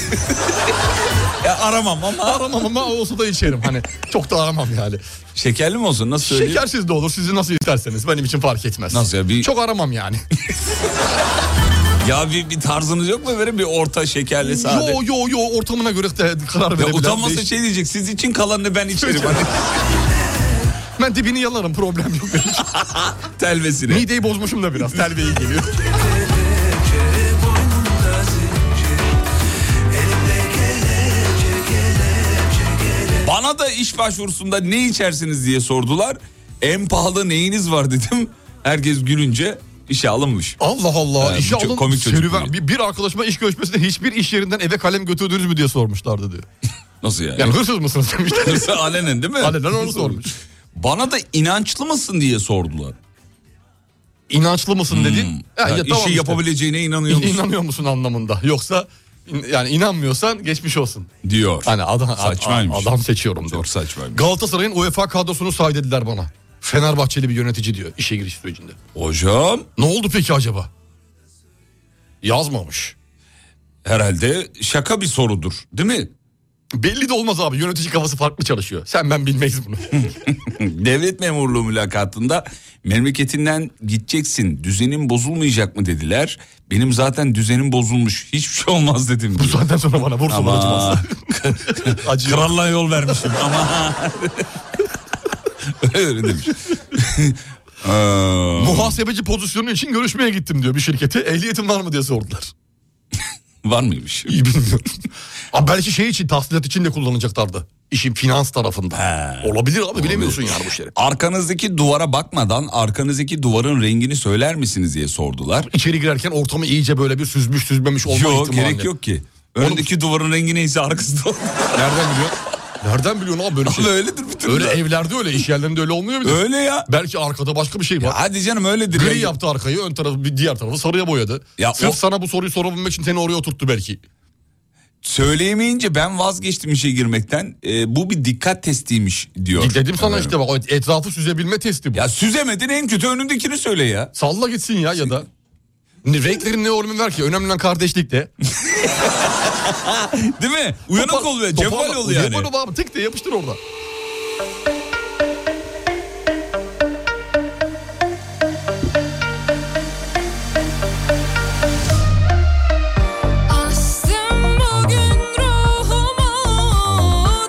S6: Ya aramam ama.
S7: aramam ama olsa da içerim. Hani çok da aramam yani.
S6: Şekerli mi olsun? Nasıl söyleyeyim?
S7: Şekersiz de olur. Sizi nasıl isterseniz benim için fark etmez.
S6: Nasıl ya, bir-
S7: Çok aramam yani.
S6: Ya bir, bir tarzınız yok mu böyle bir orta şekerli sade?
S7: yo yo yo ortamına göre de karar
S6: Ya
S7: verebilen.
S6: utanmasa
S7: değiş-
S6: şey diyecek siz için kalanını ben içerim. Hani
S7: Ben dibini yalarım problem yok. benim için.
S6: Telvesini.
S7: Mideyi bozmuşum da biraz telveyi geliyor.
S6: Bana da iş başvurusunda ne içersiniz diye sordular. En pahalı neyiniz var dedim. Herkes gülünce işe alınmış.
S7: Allah Allah.
S6: Ha,
S7: işe
S6: çok
S7: alın,
S6: komik çocuk
S7: serüven-
S6: değil.
S7: bir, bir arkadaşıma iş görüşmesinde hiçbir iş yerinden eve kalem götürdünüz mü diye sormuşlardı diyor.
S6: Nasıl yani?
S7: Yani hırsız mısınız demişler.
S6: Hırsız alenen değil mi?
S7: Alenen onu sormuş.
S6: Bana da inançlı mısın diye sordular.
S7: İnançlı mısın dedin.
S6: Ha, işi yapabileceğine inanıyor musun?
S7: İnanıyor musun anlamında. Yoksa in- yani inanmıyorsan geçmiş olsun.
S6: Diyor.
S7: Hani adam,
S6: Saçmaymış.
S7: adam seçiyorum.
S6: Çok saçmaymış.
S7: Galatasaray'ın UEFA kadrosunu say dediler bana. Fenerbahçeli bir yönetici diyor işe giriş sürecinde.
S6: Hocam.
S7: Ne oldu peki acaba? Yazmamış.
S6: Herhalde şaka bir sorudur değil mi?
S7: Belli de olmaz abi yönetici kafası farklı çalışıyor. Sen ben bilmeyiz bunu.
S6: Devlet memurluğu mülakatında memleketinden gideceksin düzenin bozulmayacak mı dediler. Benim zaten düzenim bozulmuş hiçbir şey olmaz dedim. Bu
S7: saatten sonra bana vursun acımaz.
S6: Krallığa yol vermişim ama. Öyle demiş. Ee,
S7: Muhasebeci pozisyonu için görüşmeye gittim diyor bir şirkete. Ehliyetin var mı diye sordular.
S6: var mıymış?
S7: İyi bilmiyorum. Ama belki şey için tahsilat için de kullanacaklardı. İşin finans tarafında. Olabilir abi bilemiyorsun yani bu işleri.
S6: Arkanızdaki duvara bakmadan arkanızdaki duvarın rengini söyler misiniz diye sordular.
S7: İçeri girerken ortamı iyice böyle bir süzmüş süzmemiş olma
S6: Yok
S7: ihtimali.
S6: gerek yok ki. Önündeki duvarın rengi neyse arkasında.
S7: Nereden biliyorsun? Nereden biliyorsun abi böyle şey?
S6: Abi öyledir bütün
S7: Öyle
S6: ya.
S7: evlerde öyle iş yerlerinde öyle olmuyor mu?
S6: Öyle ya.
S7: Belki arkada başka bir şey var.
S6: hadi canım öyledir.
S7: Gri
S6: ya.
S7: yaptı arkayı ön tarafı bir diğer tarafı sarıya boyadı.
S6: Ya
S7: Sırf
S6: o-
S7: sana bu soruyu sorabilmek için seni oraya oturttu belki.
S6: Söyleyemeyince ben vazgeçtim işe girmekten. Ee, bu bir dikkat testiymiş diyor.
S7: Dedim sana
S6: Efendim.
S7: işte bak o etrafı süzebilme testi bu.
S6: Ya süzemedin en kötü önündekini söyle ya.
S7: Salla gitsin ya ya da. Ne- Renklerin ne önemi var ki? Önemli olan kardeşlik de.
S6: Değil mi? Uyanık
S7: Topa-
S6: ol ve
S7: topa-
S6: cevval ol yani.
S7: Cevval ol abi tık diye yapıştır orada.
S15: Astım bugün ruhumu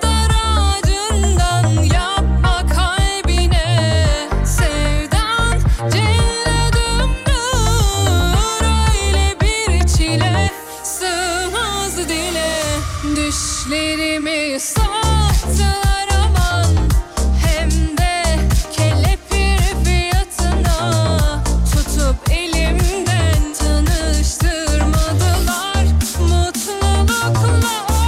S15: dar ağacından yapma kalbine sevdan cennet ömür öyle bir çile sığmaz dile düşlerimi sattılar aman hem de kelepir fiyatına tutup elimden tanıştırmadılar mutlulukla oh,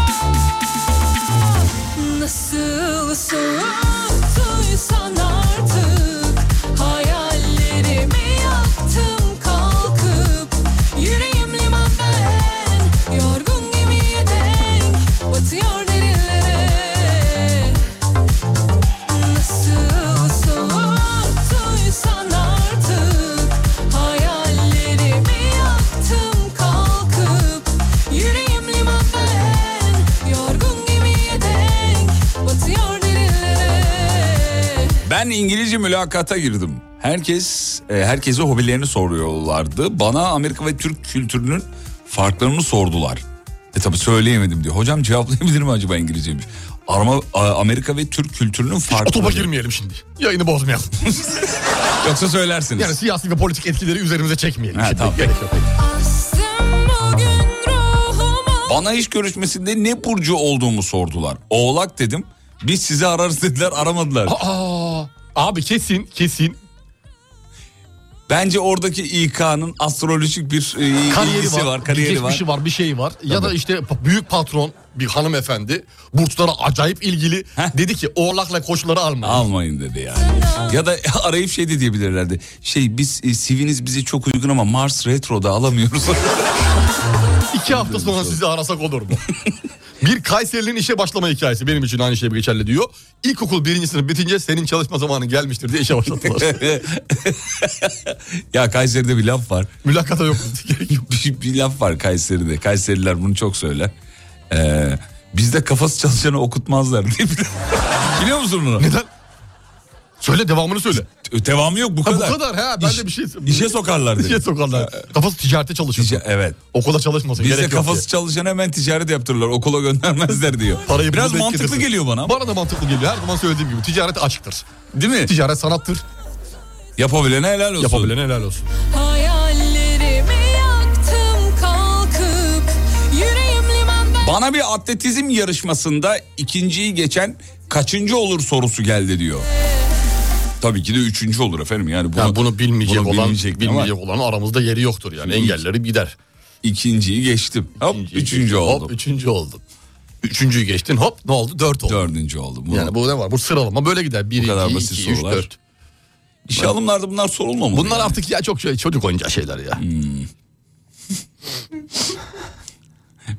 S15: nasıl soğuttuysan artık hayallerimi yaktım kalkıp yüreğim liman ben yorgun gemiye denk batıyor derinlere Nasıl soğuttuysan artık Hayallerimi yaktım kalkıp Yüreğim liman ben Yorgun gemiye denk Batıyor derinlere
S6: Ben İngilizce mülakata girdim. Herkes e, herkese hobilerini soruyorlardı. Bana Amerika ve Türk kültürünün farklarını sordular. E tabi söyleyemedim diyor. Hocam cevaplayabilir mi acaba İngilizcemiş? Arama a- Amerika ve Türk kültürünün
S7: O topa
S6: farklarını.
S7: girmeyelim şimdi. Yayını bozmayalım.
S6: Yoksa söylersiniz.
S7: yani siyasi ve politik etkileri üzerimize çekmeyelim.
S6: Ha,
S7: şimdi.
S6: tamam.
S7: Gerek yok.
S15: Astım bugün ruhuma
S6: Bana iş görüşmesinde ne burcu olduğumu sordular. Oğlak dedim. Biz sizi ararız dediler aramadılar.
S7: Aa, abi kesin kesin
S6: Bence oradaki İK'nın astrolojik bir e,
S7: kariyeri
S6: ilgisi var,
S7: var,
S6: kariyeri var.
S7: geçmişi var. bir şey var. Ya da işte pa- büyük patron bir hanımefendi burçlara acayip ilgili dedi ki oğlakla koçları almayın.
S6: Almayın dedi yani. Ya da arayıp şey de diyebilirlerdi. Şey biz e, CV'niz bize çok uygun ama Mars Retro'da alamıyoruz.
S7: İki hafta sonra sizi arasak olur mu? bir Kayserili'nin işe başlama hikayesi benim için aynı şey geçerli diyor. İlkokul birinci sınıf bitince senin çalışma zamanın gelmiştir diye işe başlattılar.
S6: ya Kayseri'de bir laf var.
S7: Mülakata yok.
S6: bir, bir laf var Kayseri'de. Kayseriler bunu çok söyler. Ee, bizde kafası çalışanı okutmazlar diye bir- Biliyor musun bunu?
S7: Neden? Söyle devamını söyle.
S6: Devamı yok bu
S7: Ha, bu
S6: kadar.
S7: kadar, ha, ben
S6: İş-
S7: de bir şey-
S6: İşe sokarlar dedi.
S7: İşe sokarlar. Kafası ticarete çalışıyor.
S6: evet.
S7: Okula çalışmasın
S6: Bizde
S7: gerek yok
S6: kafası
S7: diye.
S6: çalışan hemen ticaret yaptırırlar. Okula göndermezler diyor.
S7: Parayı
S6: Biraz
S7: bulup
S6: mantıklı
S7: bekletirsin.
S6: geliyor bana.
S7: Bana da mantıklı geliyor. Her zaman söylediğim gibi ticaret aşktır.
S6: Değil mi?
S7: Ticaret sanattır.
S6: Yapabilene helal olsun.
S7: Yapabilene helal olsun.
S15: Hayallerimi yaktım kalkıp yüreğim limanda
S6: Bana bir atletizm yarışmasında ikinciyi geçen kaçıncı olur sorusu geldi diyor. Tabii ki de üçüncü olur efendim. Yani bunu,
S7: Yani bunu bilmeyecek
S6: bunu
S7: olan
S6: bilmeyecek ama-
S7: bilmeyecek olan aramızda yeri yoktur yani. Engelleri gider.
S6: İkinciyi geçtim. Hop üçüncü oldum.
S7: Hop üçüncü oldun. Üçüncüyü geçtin hop ne oldu? Dört oldu.
S6: Dördüncü oldum.
S7: Yani bu ne var? Bu sıralama böyle gider. Bir,
S6: Bu kadar
S7: iki,
S6: basit
S7: iki, üç,
S6: sorular.
S7: dört.
S6: İşe alımlarda bunlar sorulmamalı.
S7: Bunlar artık ya çok şey, çocuk oyuncağı şeyler ya.
S6: Hmm.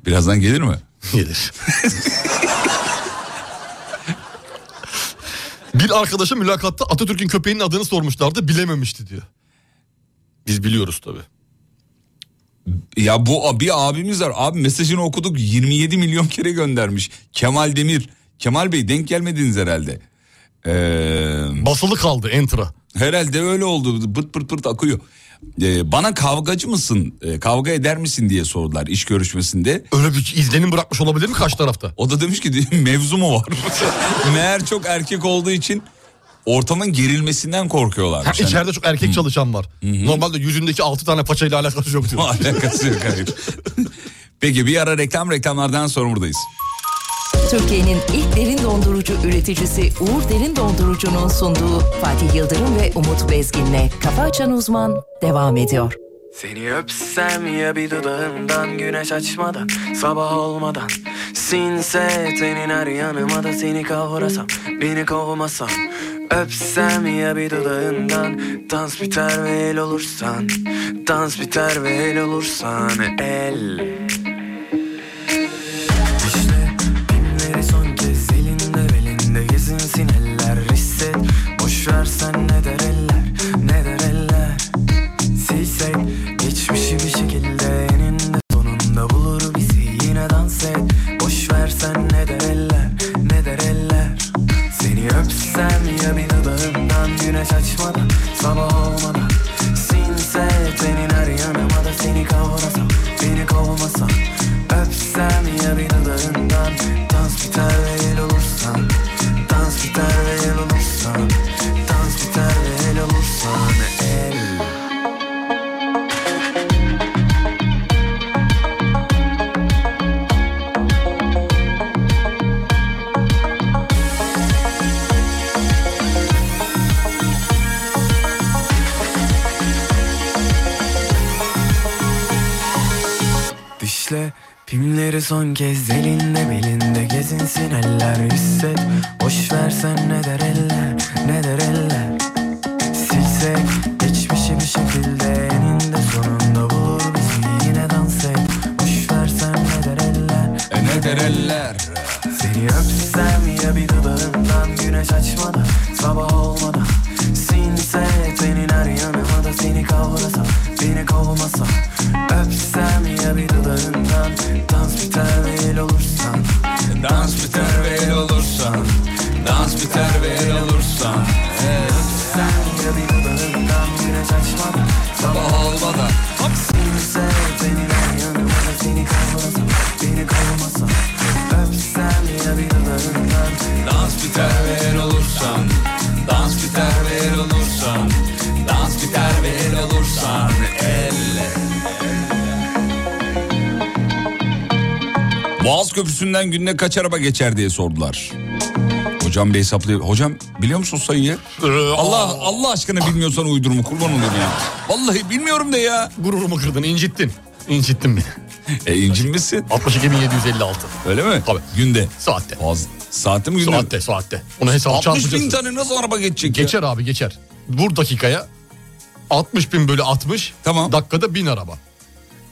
S6: Birazdan gelir mi?
S7: Gelir. Bir arkadaşa mülakatta Atatürk'ün köpeğinin adını sormuşlardı bilememişti diyor. Biz biliyoruz tabii.
S6: Ya bu bir abimiz var. Abi mesajını okuduk 27 milyon kere göndermiş. Kemal Demir. Kemal Bey denk gelmediniz herhalde. Ee,
S7: Basılı kaldı entra.
S6: Herhalde öyle oldu. Pırt pırt pırt akıyor. Ee, bana kavgacı mısın, e, kavga eder misin diye sordular iş görüşmesinde.
S7: Öyle bir izlenim bırakmış olabilir mi karşı tarafta?
S6: O da demiş ki mevzu mu var? Meğer çok erkek olduğu için ortamın gerilmesinden Hani- korkuyorlar.
S7: Ha, içeride çok erkek çalışan var. Normalde yüzündeki altı tane paçayla alakası yok diyor.
S6: Alakası yok hayır. Peki bir ara reklam reklamlardan sonra buradayız.
S1: Türkiye'nin ilk derin dondurucu üreticisi Uğur Derin Dondurucu'nun sunduğu Fatih Yıldırım ve Umut Bezgin'le Kafa Açan Uzman devam ediyor.
S16: Seni öpsem ya bir dudağından güneş açmadan sabah olmadan sinse tenin her yanıma da seni kavrasam beni kovmasan öpsem ya bir dudağından dans biter ve el olursan dans biter ve el olursan el İşte Günleri son kez elinde belinde gezinsin eller hisset Boş ver sen ne der eller ne der eller Silsek geçmişi bir şekilde eninde sonunda bulur bizi yine dans et Boş ver sen ne der eller ne der eller Seni öpsem ya bir dudağından güneş açmadan sabah olmadan Sinse tenin her yanıma da seni kavrasam beni kovmasam Öpsem ya bir dudağından dans biter ve el olursan Dans biter ve el olursan Dans biter ve el olursan El Dişle pimleri son kez elinde belinde gezinsin eller hisset Boş versen ne der eller ne der eller Silsek geçmişi bir şekilde eninde sonunda bulur bizi yine dans et Boş versen ne der eller
S6: E, ne der eller
S16: Seni öpsem ya bir dudağından güneş açmadan sabah olmadan Sinse tenin her yanıma da seni kavrasam beni kovmasam Öpsem ya bir dudağından Dans biter ve el olursan
S6: Dans biter ve el olursan Dans biter ve el olursan
S16: Öpsem ya bir dudağından Güneş açmadan Sabah olmadan Sinse beni her yanıma da seni kavurasam Beni kavurmasam Öpsem ya bir dudağından
S6: Dans biter ve el olursan Dans biter ve el olursan Dans biter ve el olursan Elle Boğaz Köprüsü'nden günde kaç araba geçer diye sordular. Hocam bir hesaplıyor. Hocam biliyor musun sayıyı? Allah Allah aşkına bilmiyorsan uydurma kurban olayım ya. Vallahi bilmiyorum de ya.
S7: Gururumu kırdın incittin. İncittin beni.
S6: E incinmişsin.
S7: 62756.
S6: Öyle mi? Tabii. Günde.
S7: Saatte.
S6: Boğaz, saatte mi günde? mi?
S7: Saatte saatte. Ona hesap
S6: 60 bin
S7: çarpacaksın.
S6: tane nasıl araba geçecek ya?
S7: Geçer abi geçer. Vur dakikaya. 60 bin bölü 60. Tamam. Dakikada bin araba.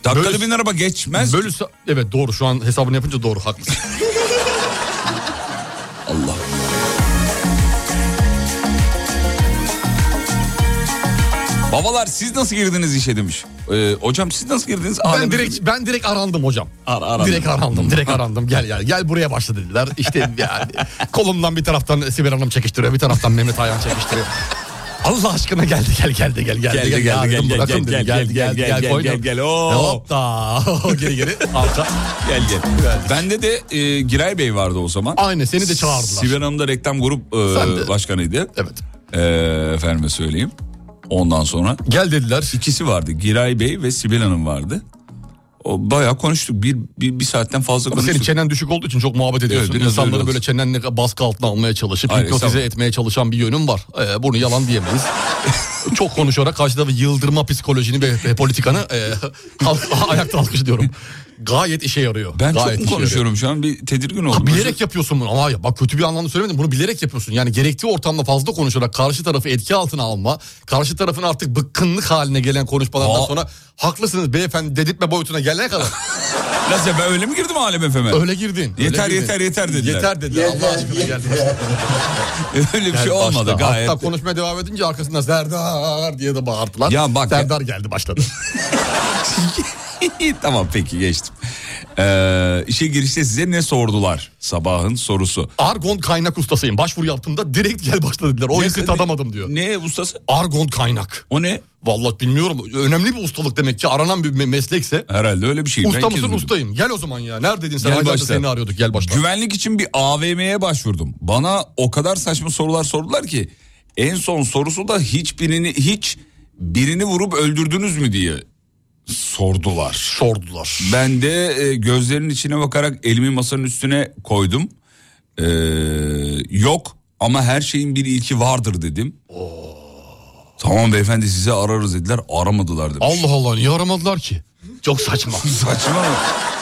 S6: Dakikada bin araba geçmez.
S7: Bölü, sa- evet doğru şu an hesabını yapınca doğru haklısın.
S6: Allah. Babalar siz nasıl girdiniz işe demiş. Ee, hocam siz nasıl girdiniz?
S7: Ben direkt ben direkt arandım hocam.
S6: Ar- arandım.
S7: Direkt arandım, direkt arandım. Gel gel gel buraya başla dediler. İşte yani kolumdan bir taraftan Sibel Hanım çekiştiriyor, bir taraftan Mehmet Ayhan çekiştiriyor. Allah aşkına geldi gel geldi gel geldi
S6: Geldi, geldi,
S7: yardım
S6: gel, gel,
S7: bırakın
S6: gel,
S7: dedim.
S6: gel,
S7: geldi
S6: gel,
S7: geldi
S6: gel, gel,
S7: gel
S6: gel, gel, oo.
S7: Hop da geri geri alta.
S6: Gel gel. Bende de e, Giray Bey vardı o zaman.
S7: Aynı, seni de çağırdılar.
S6: Sibel Hanım da reklam grup e,
S7: Sen de.
S6: başkanıydı.
S7: Evet.
S6: E, efendime söyleyeyim. Ondan sonra.
S7: Gel dediler.
S6: İkisi vardı. Giray Bey ve Sibel Hanım vardı. O bayağı konuştuk. Bir, bir, bir saatten fazla
S7: Ama senin
S6: konuştuk.
S7: çenen düşük olduğu için çok muhabbet ediyorsun.
S6: biraz öyle
S7: İnsanları
S6: oldu.
S7: böyle çenenle baskı altına almaya çalışıp
S6: Hayır,
S7: hipnotize
S6: estağfurullah.
S7: etmeye çalışan bir yönün var. Ee, bunu yalan diyemeyiz. çok konuşarak karşı tarafı yıldırma psikolojini ve, ve politikanı e, halk- ayakta alkışlıyorum. Gayet işe yarıyor.
S6: Ben çok
S7: Gayet şey. işe
S6: mu
S7: yarıyor.
S6: konuşuyorum şu an? Bir tedirgin oldum.
S7: Ha, bilerek yapıyorsun bunu. Ama hayır, bak kötü bir anlamda söylemedim. Bunu bilerek yapıyorsun. Yani gerektiği ortamda fazla konuşarak karşı tarafı etki altına alma. Karşı tarafın artık bıkkınlık haline gelen konuşmalardan
S6: Aa.
S7: sonra haklısınız beyefendi dedirtme boyutuna gelene kadar.
S6: Nasıl ben öyle mi girdim Alem FM'e?
S7: Öyle girdin. öyle
S6: Yeter,
S7: girdin.
S6: yeter, yeter dediler.
S7: Yeter dediler. Allah aşkına geldi.
S6: Öyle bir şey olmadı gayet.
S7: Hatta konuşmaya devam edince arkasından Serdar diye de bağırdılar.
S6: Ya bak- e,
S7: Serdar geldi başladı.
S6: tamam peki geçtim. Ee, işe girişte size ne sordular? Sabahın sorusu.
S7: Argon kaynak ustasıyım. Başvuru yaptığımda direkt gel başla dediler. O yükü tadamadım diyor.
S6: Ne ustası?
S7: Argon kaynak.
S6: O ne?
S7: Vallahi bilmiyorum. Önemli bir ustalık demek ki. Aranan bir me- meslekse.
S6: Herhalde öyle bir şey. Ben
S7: Usta
S6: ilk kez
S7: mısın
S6: duydum.
S7: ustayım. Gel o zaman ya. Neredeydin sen?
S6: Gel
S7: Aylardır
S6: başla.
S7: Seni arıyorduk. Gel başla.
S6: Güvenlik için bir AVM'ye başvurdum. Bana o kadar saçma sorular sordular ki en son sorusu da hiçbirini hiç birini vurup öldürdünüz mü diye sordular.
S7: Sordular.
S6: Ben de e, gözlerinin içine bakarak elimi masanın üstüne koydum. Ee, yok ama her şeyin bir ilki vardır dedim.
S7: Oh.
S6: Tamam beyefendi size ararız dediler. Aramadılar demiş.
S7: Allah Allah niye aramadılar ki? Çok saçma.
S6: Saçma.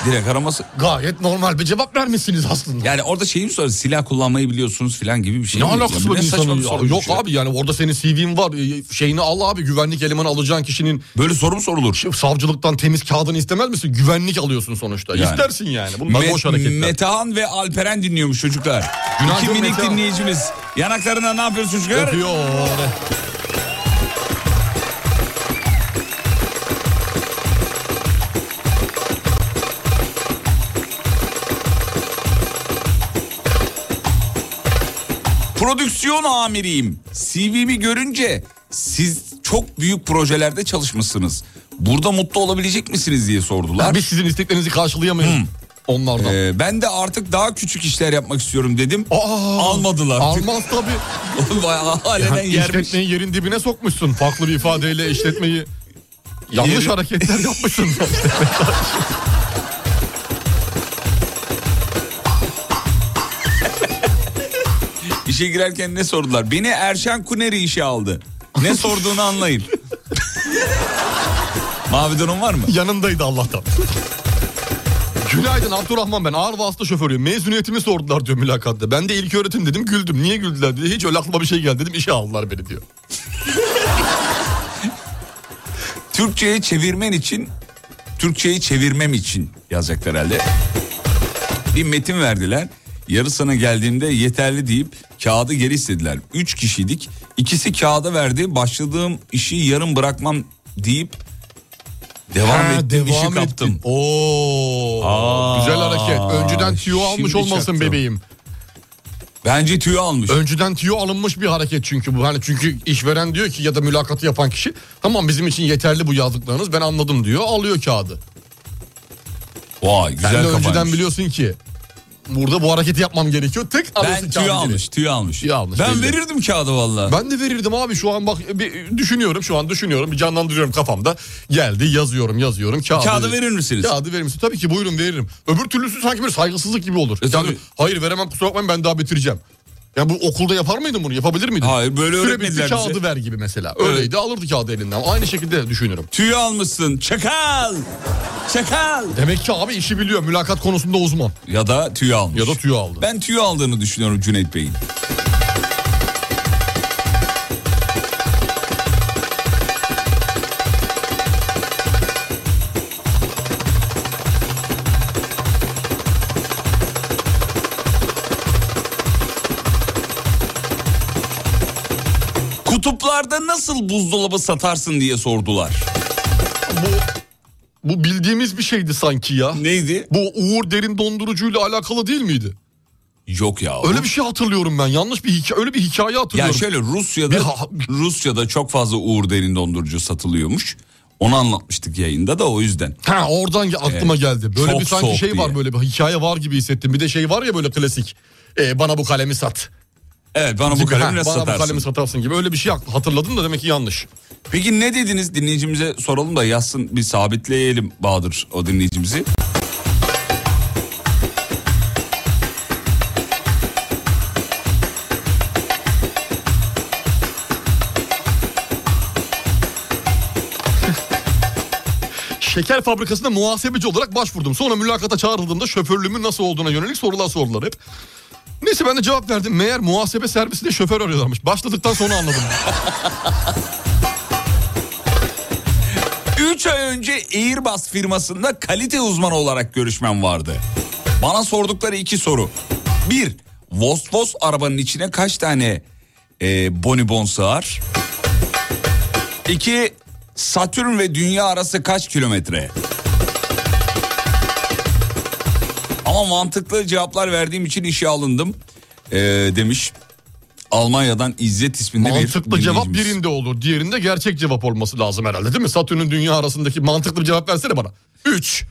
S6: Direkt araması.
S7: Gayet normal bir cevap vermişsiniz aslında.
S6: Yani orada şeyi mi soruyor? Silah kullanmayı biliyorsunuz filan gibi bir şey.
S7: Ne
S6: mi?
S7: alakası
S6: Ya
S7: var
S6: ne saçma
S7: insanın?
S6: bir soru
S7: Yok
S6: bu ya?
S7: abi yani orada senin CV'in var. e, Şeyini al abi güvenlik elemanı alacağın kişinin.
S6: Böyle soru mu sorulur?
S7: Savcılıktan temiz kağıdını istemez misin? Güvenlik alıyorsun sonuçta.
S6: Yani.
S7: İstersin yani. Bunlar
S6: Me-
S7: boş hareketler.
S6: Metehan ve Alperen dinliyormuş çocuklar.
S7: Günaydın
S6: İki minik
S7: Metehan.
S6: dinleyicimiz. Yanaklarına ne yapıyorsun çocuklar?
S7: Öpüyor.
S6: Prodüksiyon amiriyim. CV'mi görünce siz çok büyük projelerde çalışmışsınız. Burada mutlu olabilecek misiniz diye sordular. Hmm.
S7: Ya Biz sizin isteklerinizi karşılayamıyoruz. Onlardan.
S6: Ee, ben de artık daha küçük işler yapmak istiyorum dedim. Almadılar.
S7: Almaz tabii.
S6: Oğlum Bayağı haleden
S7: Yani
S6: yermiş.
S7: işletmeyi yerin dibine sokmuşsun. Farklı bir ifadeyle işletmeyi yanlış
S6: Yerin-
S7: hareketler yapmışsın.
S6: İşe girerken ne sordular? Beni Erşen Kuneri işe aldı. Ne sorduğunu anlayın. Mavi durum var mı?
S7: Yanındaydı Allah'tan. Günaydın Abdurrahman ben ağır vasıta şoförüyüm. Mezuniyetimi sordular diyor mülakatta. Ben de ilk öğretim dedim güldüm. Niye güldüler dedi. Hiç öyle aklıma bir şey geldi dedim. İşe aldılar beni diyor.
S6: Türkçe'ye çevirmen için Türkçe'yi çevirmem için yazacaklar herhalde. Bir metin verdiler. Yarısına geldiğimde yeterli deyip kağıdı geri istediler. Üç kişiydik. İkisi kağıda verdi. Başladığım işi yarım bırakmam deyip devam
S7: Ha,
S6: ettim. işi
S7: devam
S6: kaptım.
S7: Oo,
S6: Aa,
S7: güzel hareket. Önceden tüyo almış
S6: şimdi
S7: olmasın
S6: çaktım.
S7: bebeğim.
S6: Bence tüyo almış.
S7: Önceden tüyo alınmış bir hareket çünkü bu. Hani çünkü işveren diyor ki ya da mülakatı yapan kişi tamam bizim için yeterli bu yazdıklarınız ben anladım diyor. Alıyor kağıdı.
S6: Vay güzel
S7: Sen de
S6: kapanmış.
S7: önceden biliyorsun ki burada bu hareketi yapmam gerekiyor. Tek
S6: ben
S7: alıyorsun
S6: tüyo
S7: kağıdı geri.
S6: almış, tüyo almış.
S7: Tüyo almış,
S6: ben
S7: belli.
S6: verirdim kağıdı valla.
S7: Ben de verirdim abi şu an bak bir düşünüyorum şu an düşünüyorum bir canlandırıyorum kafamda. Geldi yazıyorum yazıyorum kağıdı.
S6: Kağıdı verir misiniz?
S7: Kağıdı verir misin? Tabii ki buyurun veririm. Öbür türlüsü sanki bir saygısızlık gibi olur.
S6: E,
S7: yani,
S6: tabii.
S7: hayır veremem kusura bakmayın ben daha bitireceğim. Ya bu okulda yapar mıydın bunu? Yapabilir miydin?
S6: Hayır, böyle
S7: Süre
S6: öğretmediler
S7: bitti,
S6: bize.
S7: kağıdı ver gibi mesela. Öyleydi alırdı kağıdı elinden. Aynı şekilde düşünürüm.
S6: Tüyo almışsın. Çakal. Çakal.
S7: Demek ki abi işi biliyor. Mülakat konusunda uzman.
S6: Ya da tüyo almış.
S7: Ya da tüyo aldı.
S6: Ben tüyo aldığını düşünüyorum Cüneyt Bey'in. Kutup Gruplarda nasıl buzdolabı satarsın diye sordular.
S7: Bu bildiğimiz bir şeydi sanki ya.
S6: Neydi?
S7: Bu Uğur Derin dondurucuyla alakalı değil miydi?
S6: Yok ya.
S7: Öyle bir şey hatırlıyorum ben. Yanlış bir hikaye, öyle bir hikaye hatırlıyorum.
S6: Ya şöyle Rusya'da Rusya'da çok fazla Uğur Derin dondurucu satılıyormuş. Onu anlatmıştık yayında da o yüzden.
S7: Ha oradan ge- aklıma
S6: Evet.
S7: geldi. Böyle
S6: Çok
S7: bir sanki
S6: soğuk
S7: şey var
S6: diye.
S7: böyle bir hikaye var gibi hissettim. Bir de şey var ya böyle klasik. Ee, bana bu kalemi sat.
S6: Evet bana bu
S7: Çünkü,
S6: kalemi
S7: ha,
S6: nasıl
S7: bana
S6: satarsın?
S7: bu kalemi satarsın gibi. Öyle bir şey hatırladım da demek ki yanlış.
S6: Peki ne dediniz dinleyicimize soralım da yazsın bir sabitleyelim Bahadır o dinleyicimizi.
S7: Şeker fabrikasında muhasebeci olarak başvurdum. Sonra mülakata çağrıldığımda şoförlüğümün nasıl olduğuna yönelik sorular sordular hep. Neyse ben de cevap verdim. Meğer muhasebe servisinde şoför arıyorlarmış. Başladıktan sonra anladım.
S6: 3 ay önce Airbus firmasında kalite uzmanı olarak görüşmem vardı. Bana sordukları iki soru. Bir, Vos Vos arabanın içine kaç tane e, bonibon sığar? İki, Satürn ve Dünya arası kaç kilometre? Ama mantıklı cevaplar verdiğim için işe alındım e, demiş. Almanya'dan İzzet isminde bir
S7: mantıklı cevap
S6: dinleyicimiz.
S7: birinde olur. Diğerinde gerçek cevap olması lazım herhalde değil mi? Satürn'ün dünya arasındaki mantıklı bir cevap versene bana. 3.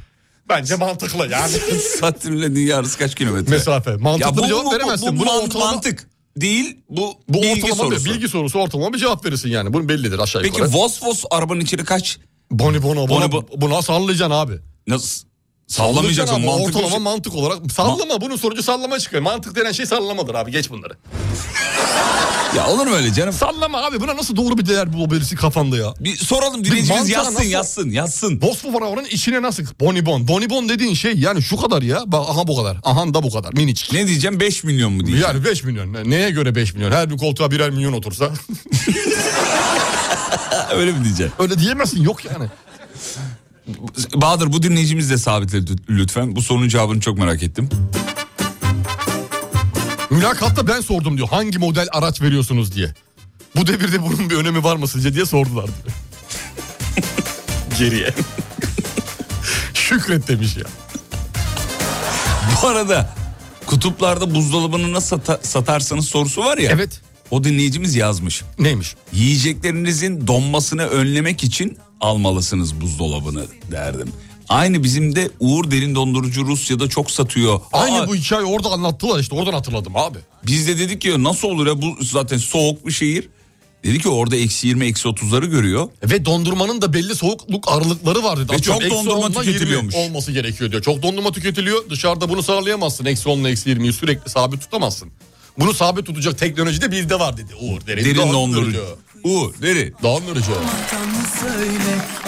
S7: Bence mantıklı yani.
S6: Satürn'le dünya arası kaç kilometre?
S7: Mesafe. Mantıklı
S6: Ya bu-
S7: bir cevap
S6: bu- bu-
S7: veremezsin.
S6: bu
S7: Buna
S6: man-
S7: ortalama-
S6: mantık değil. Bu,
S7: Bu
S6: bilgi
S7: ortalama
S6: sorusu.
S7: Bir, bilgi sorusu ortalama bir cevap verirsin yani. Bunun bellidir aşağı
S6: Peki
S7: yukarı.
S6: Vos Vos arabanın içine kaç?
S7: Bonibono. Buna,
S6: Bonibon-
S7: buna sallayacaksın abi.
S6: Nasıl? Sallamayacaksın
S7: Sallayacaksın abi.
S6: mantıklı. bir
S7: Ortalama
S6: şey.
S7: mantık olarak. Sallama bunun sonucu sallama çıkıyor. Mantık denen şey sallamadır abi. Geç bunları.
S6: Ya olur mu öyle canım?
S7: Sallama abi. Buna nasıl doğru bir değer bulabilirsin kafanda ya?
S6: Bir soralım dinleyicimiz
S7: mantığa
S6: yazsın
S7: nasıl-
S6: yazsın yazsın.
S7: Bosfor oranın içine nasıl? Bonibon. Bonibon dediğin şey yani şu kadar ya. Bak aha bu kadar. Aha da bu kadar. Minicik.
S6: Ne diyeceğim 5 milyon mu diyeceğim?
S7: Yani 5 milyon. Ne- Neye göre 5 milyon? Her bir koltuğa birer milyon otursa.
S6: öyle mi diyeceğim?
S7: Öyle diyemezsin yok yani.
S6: Bahadır bu dinleyicimiz de sabitle lüt- lütfen. Bu sorunun cevabını çok merak ettim.
S7: Mülakatta ben sordum diyor. Hangi model araç veriyorsunuz diye. Bu devirde bunun bir önemi var mı sizce diye sordular. diyor. Geriye. Şükret demiş ya.
S6: Bu arada kutuplarda buzdolabını nasıl sata- satarsanız sorusu var ya.
S7: Evet.
S6: O dinleyicimiz yazmış.
S7: Neymiş?
S6: Yiyeceklerinizin donmasını önlemek için almalısınız buzdolabını derdim. Aynı bizim de Uğur Derin Dondurucu Rusya'da çok satıyor.
S7: Aynı
S6: Aa,
S7: bu hikayeyi orada anlattılar işte oradan hatırladım abi.
S6: Biz de dedik ya nasıl olur ya bu zaten soğuk bir şehir. Dedi ki orada eksi 20 eksi 30'ları görüyor.
S7: Ve dondurmanın da belli soğukluk aralıkları var dedi.
S6: Ve
S7: Atıyorum,
S6: çok
S7: eksi
S6: dondurma
S7: 10'la 20
S6: tüketiliyormuş.
S7: Olması gerekiyor diyor. Çok dondurma tüketiliyor. Dışarıda bunu sağlayamazsın. Eksi 10 ile eksi 20'yi sürekli sabit tutamazsın. Bunu sabit tutacak teknoloji de bizde var dedi Uğur. Derin,
S6: Derin dondurucu. Uğur Derin.
S7: Dondurucu.
S14: Yalan söyle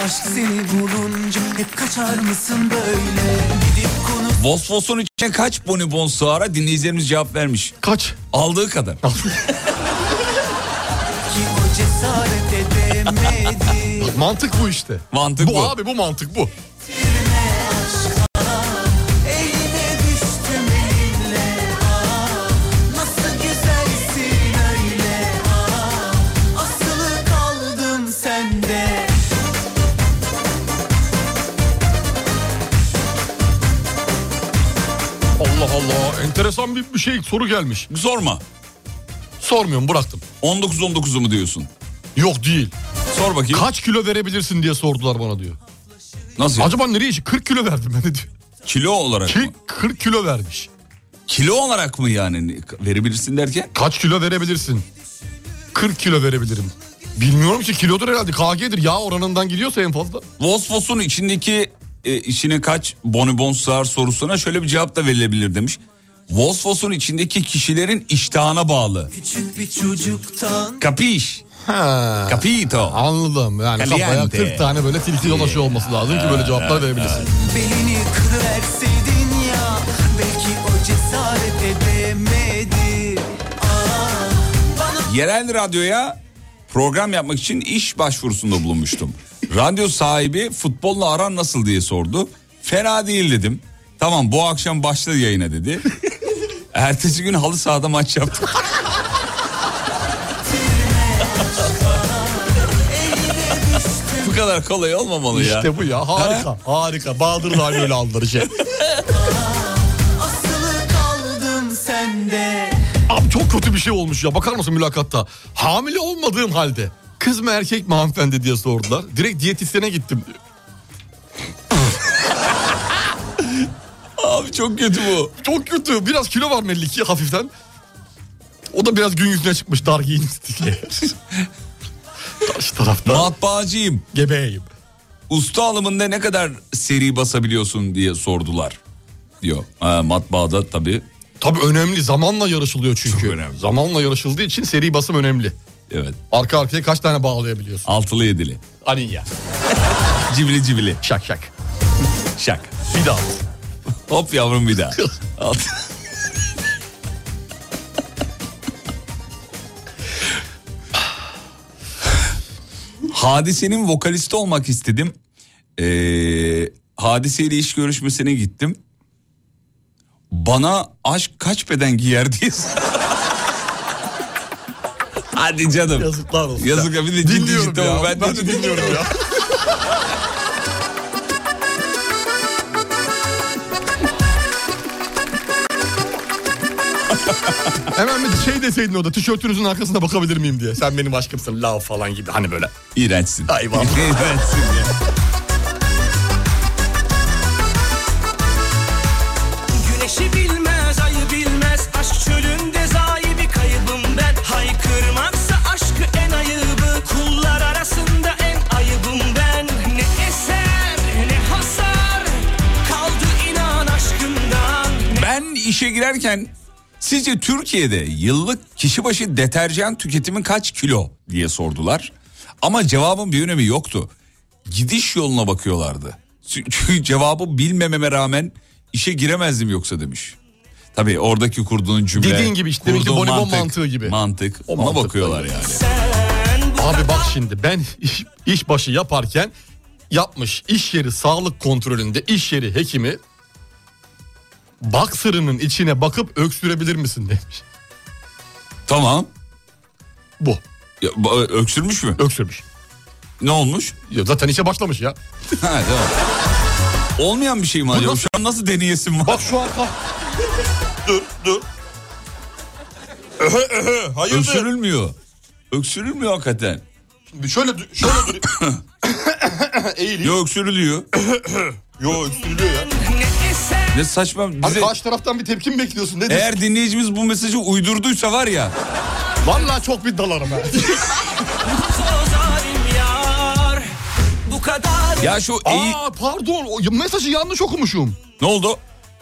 S14: aşk seni bulunca hep kaçar mısın böyle gidip konu
S6: Vosvos'un içine kaç bonibon sığara dinleyicilerimiz cevap vermiş.
S7: Kaç?
S6: Aldığı kadar.
S14: ki o cesaret edemedi
S7: Bak mantık bu işte.
S6: Mantık
S7: bu.
S6: bu.
S7: abi bu mantık bu.
S14: Ah, eline düştüm elinle ah nasıl güzelsin öyle ah asılı kaldım sende
S7: Allah Allah enteresan bir, bir şey soru gelmiş.
S6: Sorma.
S7: Sormuyorum bıraktım.
S6: 19-19'u mu diyorsun?
S7: Yok değil.
S6: Sor bakayım.
S7: Kaç kilo verebilirsin diye sordular bana diyor.
S6: Nasıl?
S7: Acaba nereye işi? 40 kilo verdim ben de diyor.
S6: Kilo olarak
S7: Ki
S6: mı?
S7: 40 kilo vermiş.
S6: Kilo olarak mı yani verebilirsin derken?
S7: Kaç kilo verebilirsin? 40 kilo verebilirim. Bilmiyorum ki kilodur herhalde KG'dir yağ oranından gidiyorsa en fazla.
S6: Vosvos'un içindeki e, içine kaç bonibon sığar sorusuna şöyle bir cevap da verilebilir demiş. Vosvos'un içindeki kişilerin iştahına bağlı.
S14: küçük bir çocuktan
S6: Kapiş.
S7: Ha.
S6: Capito.
S7: Anladım yani kafaya
S6: Caliente.
S7: 40 tane böyle tilki dolaşı olması lazım ki böyle cevaplar verebilirsin.
S14: Belini kırıverseydin ya Belki o cesaret edemedi Aa, bana
S6: Yerel radyoya program yapmak için iş başvurusunda bulunmuştum. Radyo sahibi futbolla aran nasıl diye sordu. Fena değil dedim. Tamam bu akşam başla yayına dedi. Ertesi gün halı sahada maç yaptık. kadar kolay olmamalı ya.
S7: İşte bu ya harika harika. Bahadırlar böyle aldırıcı.
S14: Asılı kaldım sende
S7: Abi çok kötü bir şey olmuş ya bakar mısın mülakatta. Hamile olmadığım halde kız mı erkek mi hanımefendi diye sordular. Direkt diyetisyene gittim diyor. Abi çok kötü bu. Çok kötü. Biraz kilo var belli ki hafiften. O da biraz gün yüzüne çıkmış dar giyinmiş diye. Karşı tarafta.
S6: Matbaacıyım.
S7: Gebeyim.
S6: Usta alımında ne kadar seri basabiliyorsun diye sordular. Diyor. Ha, matbaada tabii.
S7: Tabii önemli zamanla yarışılıyor çünkü. Zamanla yarışıldığı için seri basım önemli.
S6: Evet.
S7: Arka arkaya kaç tane bağlayabiliyorsun?
S6: Altılı yedili.
S7: Hani ya.
S6: Cibili cibili.
S7: Şak şak.
S6: Şak.
S7: Bir daha.
S6: Hop yavrum bir daha. Alt- Hadisenin vokalisti olmak istedim. Ee, hadiseyle iş görüşmesine gittim. Bana aşk kaç beden giyer diye sor- Hadi canım.
S7: Yazıklar olsun.
S6: Yazık ya. Bir de ciddi ciddi ama ben,
S7: ben de dinliyorum ya. Hemen bir şey deseydin orada tişörtünüzün arkasına bakabilir miyim diye. Sen benim aşkımsın lav falan gibi hani böyle.
S6: İğrençsin.
S7: Hayvan.
S6: İğrençsin ya.
S17: Güneşi bilmez, ayı bilmez Aşk çölünde zayi bir kaybım ben Haykırmaksa aşkı en ayıbı Kullar arasında en ayıbım ben Ne eser, ne hasar Kaldı inan aşkımdan
S6: Ben işe girerken sizce Türkiye'de yıllık kişi başı deterjan tüketimi kaç kilo diye sordular. Ama cevabın bir önemi yoktu. Gidiş yoluna bakıyorlardı. Çünkü cevabı bilmememe rağmen işe giremezdim yoksa demiş. Tabii oradaki kurduğun cümle.
S7: Dediğin gibi işte, deminki
S6: kurduğun
S7: bonibon mantığı gibi.
S6: Mantık.
S7: O
S6: ona
S7: mantıkla
S6: bakıyorlar yani.
S7: Abi bak şimdi ben iş, iş başı yaparken yapmış iş yeri sağlık kontrolünde iş yeri hekimi baksırının içine bakıp öksürebilir misin demiş.
S6: Tamam.
S7: Bu.
S6: Ya, ba- öksürmüş mü?
S7: Öksürmüş.
S6: Ne olmuş?
S7: Ya zaten işe başlamış ya.
S6: ha, tamam. Olmayan bir şey mi acaba? Şu an nasıl deneyesin var?
S7: Bak şu an dur dur. hayırdır?
S6: Öksürülmüyor. Öksürülmüyor hakikaten.
S7: Şöyle dü- şöyle dü- eğileyim.
S6: Yok öksürülüyor.
S7: Yo öksürülüyor ya.
S6: Ne saçma.
S7: Abi
S6: bize-
S7: karşı taraftan bir tepki mi bekliyorsun? Ne
S6: Eğer dinleyicimiz bu mesajı uydurduysa var ya.
S7: Vallahi çok bir dalarım ha.
S17: O zalim yar Bu kadar
S6: Ya şu eği-
S7: Aa pardon o ya- mesajı yanlış okumuşum.
S6: Ne oldu?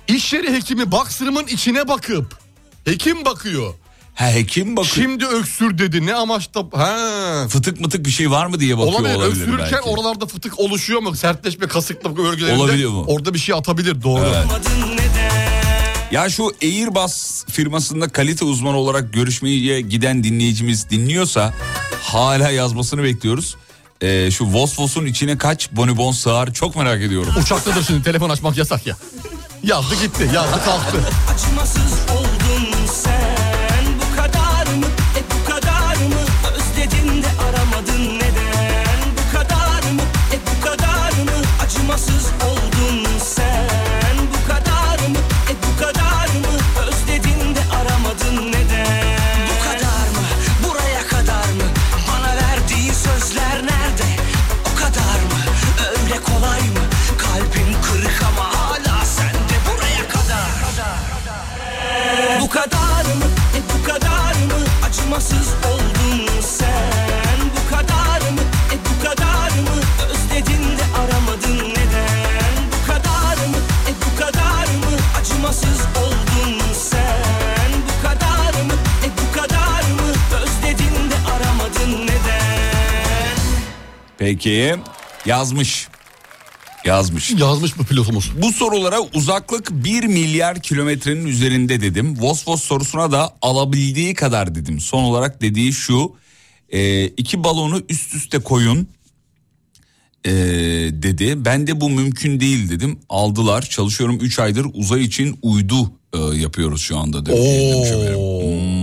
S7: İş yeri hekimi baksırımın içine bakıp. Hekim bakıyor.
S6: He hekim bakıyor.
S7: Şimdi öksür dedi ne amaçla ha.
S6: Fıtık mıtık bir şey var mı diye bakıyor olabilir,
S7: olabilir. Öksürürken
S6: belki.
S7: oralarda fıtık oluşuyor mu? Sertleşme kasıklık bölgelerinde.
S6: Olabiliyor mu?
S7: Orada bir şey atabilir doğru.
S6: Ya şu Airbus firmasında kalite uzmanı olarak görüşmeye giden dinleyicimiz dinliyorsa hala yazmasını bekliyoruz. Ee, şu Vosvos'un içine kaç bonibon sığar çok merak ediyorum.
S7: Uçaktadır şimdi telefon açmak yasak ya. Yazdı gitti yazdı kalktı.
S17: Acımasız oldun sen Bu kadar mı? E bu kadar mı? Özledin de aramadın neden? Bu kadar mı? E bu kadar mı? Acımasız oldun sen Bu kadar mı? E bu kadar mı? Özledin de aramadın neden? Bu kadar mı? Buraya kadar mı? Bana verdiği sözler nerede? O kadar mı? Öyle kolay mı? Kalbim kırık ama hala sende buraya kadar. Bu kadar mı? E bu kadar mı? Acımasız oldun sen. Bu kadar mı? E bu kadar mı? Özledin de aramadın neden? Bu kadar mı? E bu kadar mı? Acımasız oldun sen. Bu kadar mı? E bu kadar mı? Özledin de aramadın neden?
S6: Peki yazmış. Yazmış.
S7: Yazmış bu pilotumuz.
S6: Bu sorulara uzaklık 1 milyar kilometrenin üzerinde dedim. Vosvos sorusuna da alabildiği kadar dedim. Son olarak dediği şu. e, iki balonu üst üste koyun e, dedi. Ben de bu mümkün değil dedim. Aldılar. Çalışıyorum 3 aydır uzay için uydu e, yapıyoruz şu anda. Demiş,
S7: Oo.
S6: demiş efendim. Hmm, balon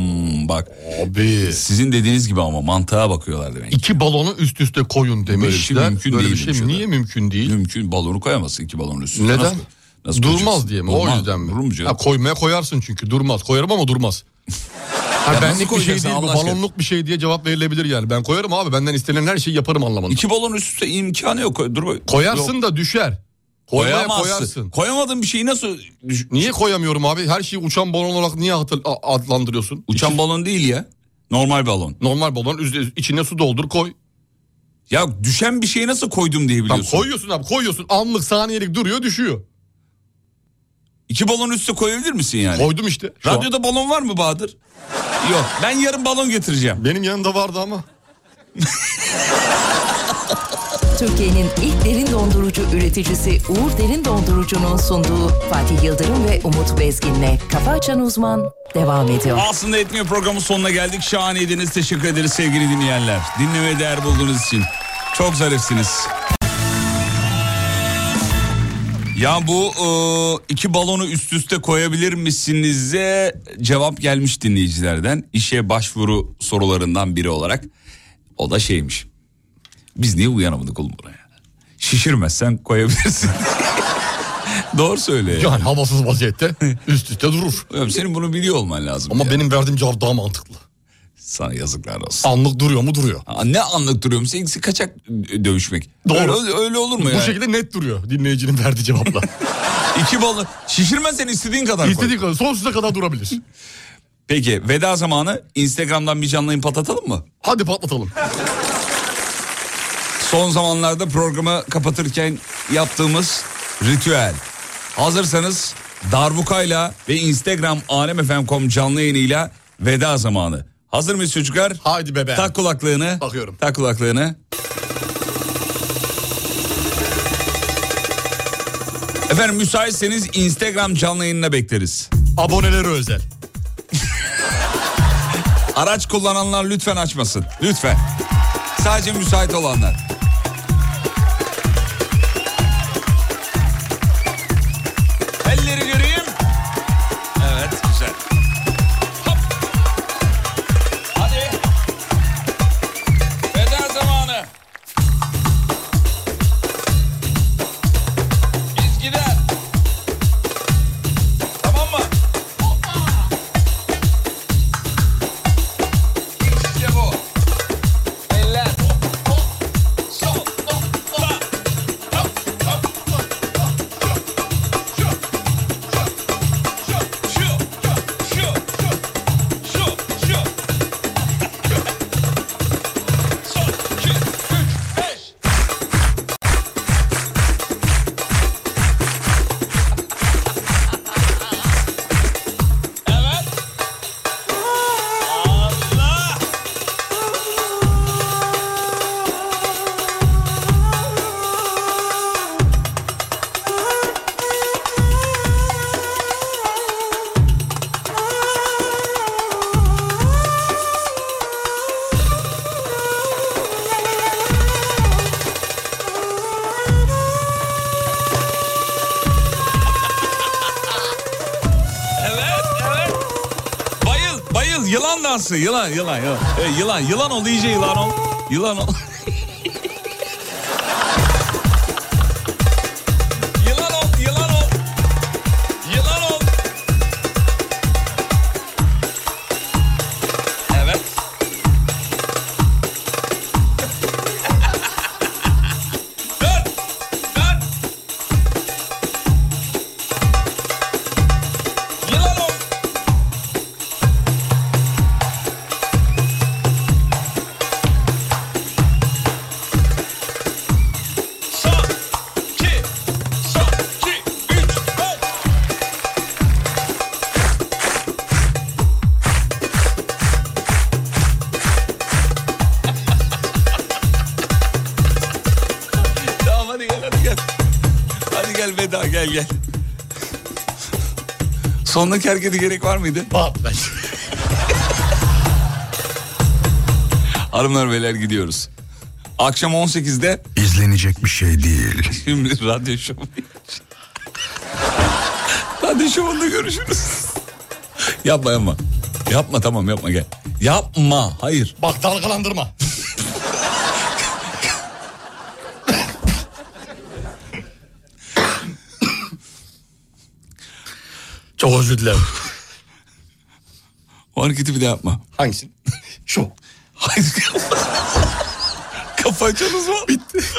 S6: bak. Abi. Sizin dediğiniz gibi ama mantığa bakıyorlar demek.
S7: İki balonu üst üste koyun
S6: Böyle bir şey
S7: demişler.
S6: mümkün
S7: Böyle
S6: değil
S7: bir şey
S6: demişler.
S7: niye mümkün değil?
S6: Mümkün balonu koyamazsın iki balonun üstüne.
S7: Neden?
S6: Nasıl- nasıl
S7: durmaz
S6: koyacaksın?
S7: diye mi?
S6: Durmaz.
S7: O yüzden mi?
S6: Durur mu canım?
S7: Ha, koymaya koyarsın çünkü durmaz. Koyarım ama durmaz.
S6: Ya
S7: Ha,
S6: nasıl
S7: benlik bir şey
S6: koyacaksın
S7: değil bu
S6: Allah aşkına?
S7: balonluk bir şey diye cevap verilebilir yani. Ben koyarım abi benden istenen her şeyi yaparım anlamında.
S6: İki balon üst üste imkanı yok. Dur, bak-
S7: Koyarsın
S6: Yok.
S7: da düşer. Koymaya
S6: Koyamazsın.
S7: koyarsın.
S6: Koyamadığın bir şeyi nasıl...
S7: Niye koyamıyorum abi? Her şeyi uçan balon olarak niye hatır- a- adlandırıyorsun?
S6: Uçan balon değil ya. Normal balon.
S7: Normal balon üz- içine su doldur koy.
S6: Ya düşen bir şeyi nasıl koydum diye biliyorsun.
S7: koyuyorsun abi koyuyorsun anlık saniyelik duruyor düşüyor.
S6: İki balon üstüne koyabilir misin yani?
S7: Koydum işte. şu an.
S6: Radyoda balon var mı Bahadır? Yok. Ben yarın balon getireceğim.
S7: Benim yanında vardı ama.
S1: Türkiye'nin ilk derin dondurucu üreticisi Uğur Derin Dondurucu'nun sunduğu Fatih Yıldırım ve Umut Bezgin'le Kafa Açan Uzman devam ediyor.
S6: Aslında etmiyor programın sonuna geldik. Şahaneydiniz. Teşekkür ederiz sevgili dinleyenler. Dinlemeye değer bulduğunuz için. Çok zarifsiniz. Ya bu e, iki balonu üst üste koyabilir misinize cevap gelmiş dinleyicilerden. İşe başvuru sorularından biri olarak. O da şeymiş. Biz niye uyanamadık oğlum buraya? Şişirmezsen koyabilirsin. Doğru söyle.
S7: Yani havasız vaziyette üst üste durur.
S6: Oğlum Senin bunu biliyor olman lazım.
S7: Ama benim verdiğim cevap daha mantıklı.
S6: Sana yazıklar olsun.
S7: Anlık duruyor mu duruyor.
S6: Aa, Ne anlık duruyorum? Seninkisi kaçak e, dövüşmek.
S7: Doğru.
S6: Öyle, öyle olur mu
S7: Bu
S6: ya?
S7: şekilde net duruyor dinleyicinin verdiği cevapla.
S6: İki balı. Şişirmezsen istediğin kadar koy.
S7: İstediği kadar sonsuza kadar durabilir.
S6: Peki veda zamanı Instagram'dan bir canlı yayın patlatalım mı?
S7: Hadi patlatalım.
S6: Son zamanlarda programı kapatırken yaptığımız ritüel. Hazırsanız darbukayla ve Instagram alemfm.com canlı yayınıyla veda zamanı. Hazır mıyız çocuklar?
S7: Haydi bebe.
S6: Tak kulaklığını. Bakıyorum. Tak kulaklığını. Efendim müsaitseniz Instagram canlı yayınına bekleriz.
S7: Abonelere özel.
S6: Araç kullananlar lütfen açmasın. Lütfen. Sadece müsait olanlar. Elleri göreyim. Evet güzel. Hop. Hadi. Veda zamanı. Biz gider. Tamam mı? İşte bu. Eller. Sol. Evet, evet. Bayıl, bayıl. Yılan dansı. Yılan, yılan, yılan. Evet, yılan, yılan ol iyice yılan ol. Yılan ol. yılan ol, yılan ol. Yılan ol. Evet. Dön, dön. Yılan ol. Tamam hadi gel hadi gel. Hadi gel veda gel gel. Sondaki harekete gerek var mıydı?
S7: Bak ben.
S6: Hanımlar beyler gidiyoruz. Akşam 18'de
S18: İzlenecek bir şey değil.
S6: şimdi radyo şovu. radyo şovunda görüşürüz. yapma yapma. Yapma tamam yapma gel. Yapma hayır.
S7: Bak dalgalandırma. Çok özür dilerim.
S6: O hareketi bir de yapma.
S7: Hangisini? Şu.
S6: Hayır. Kafa açanız mı? Bitti.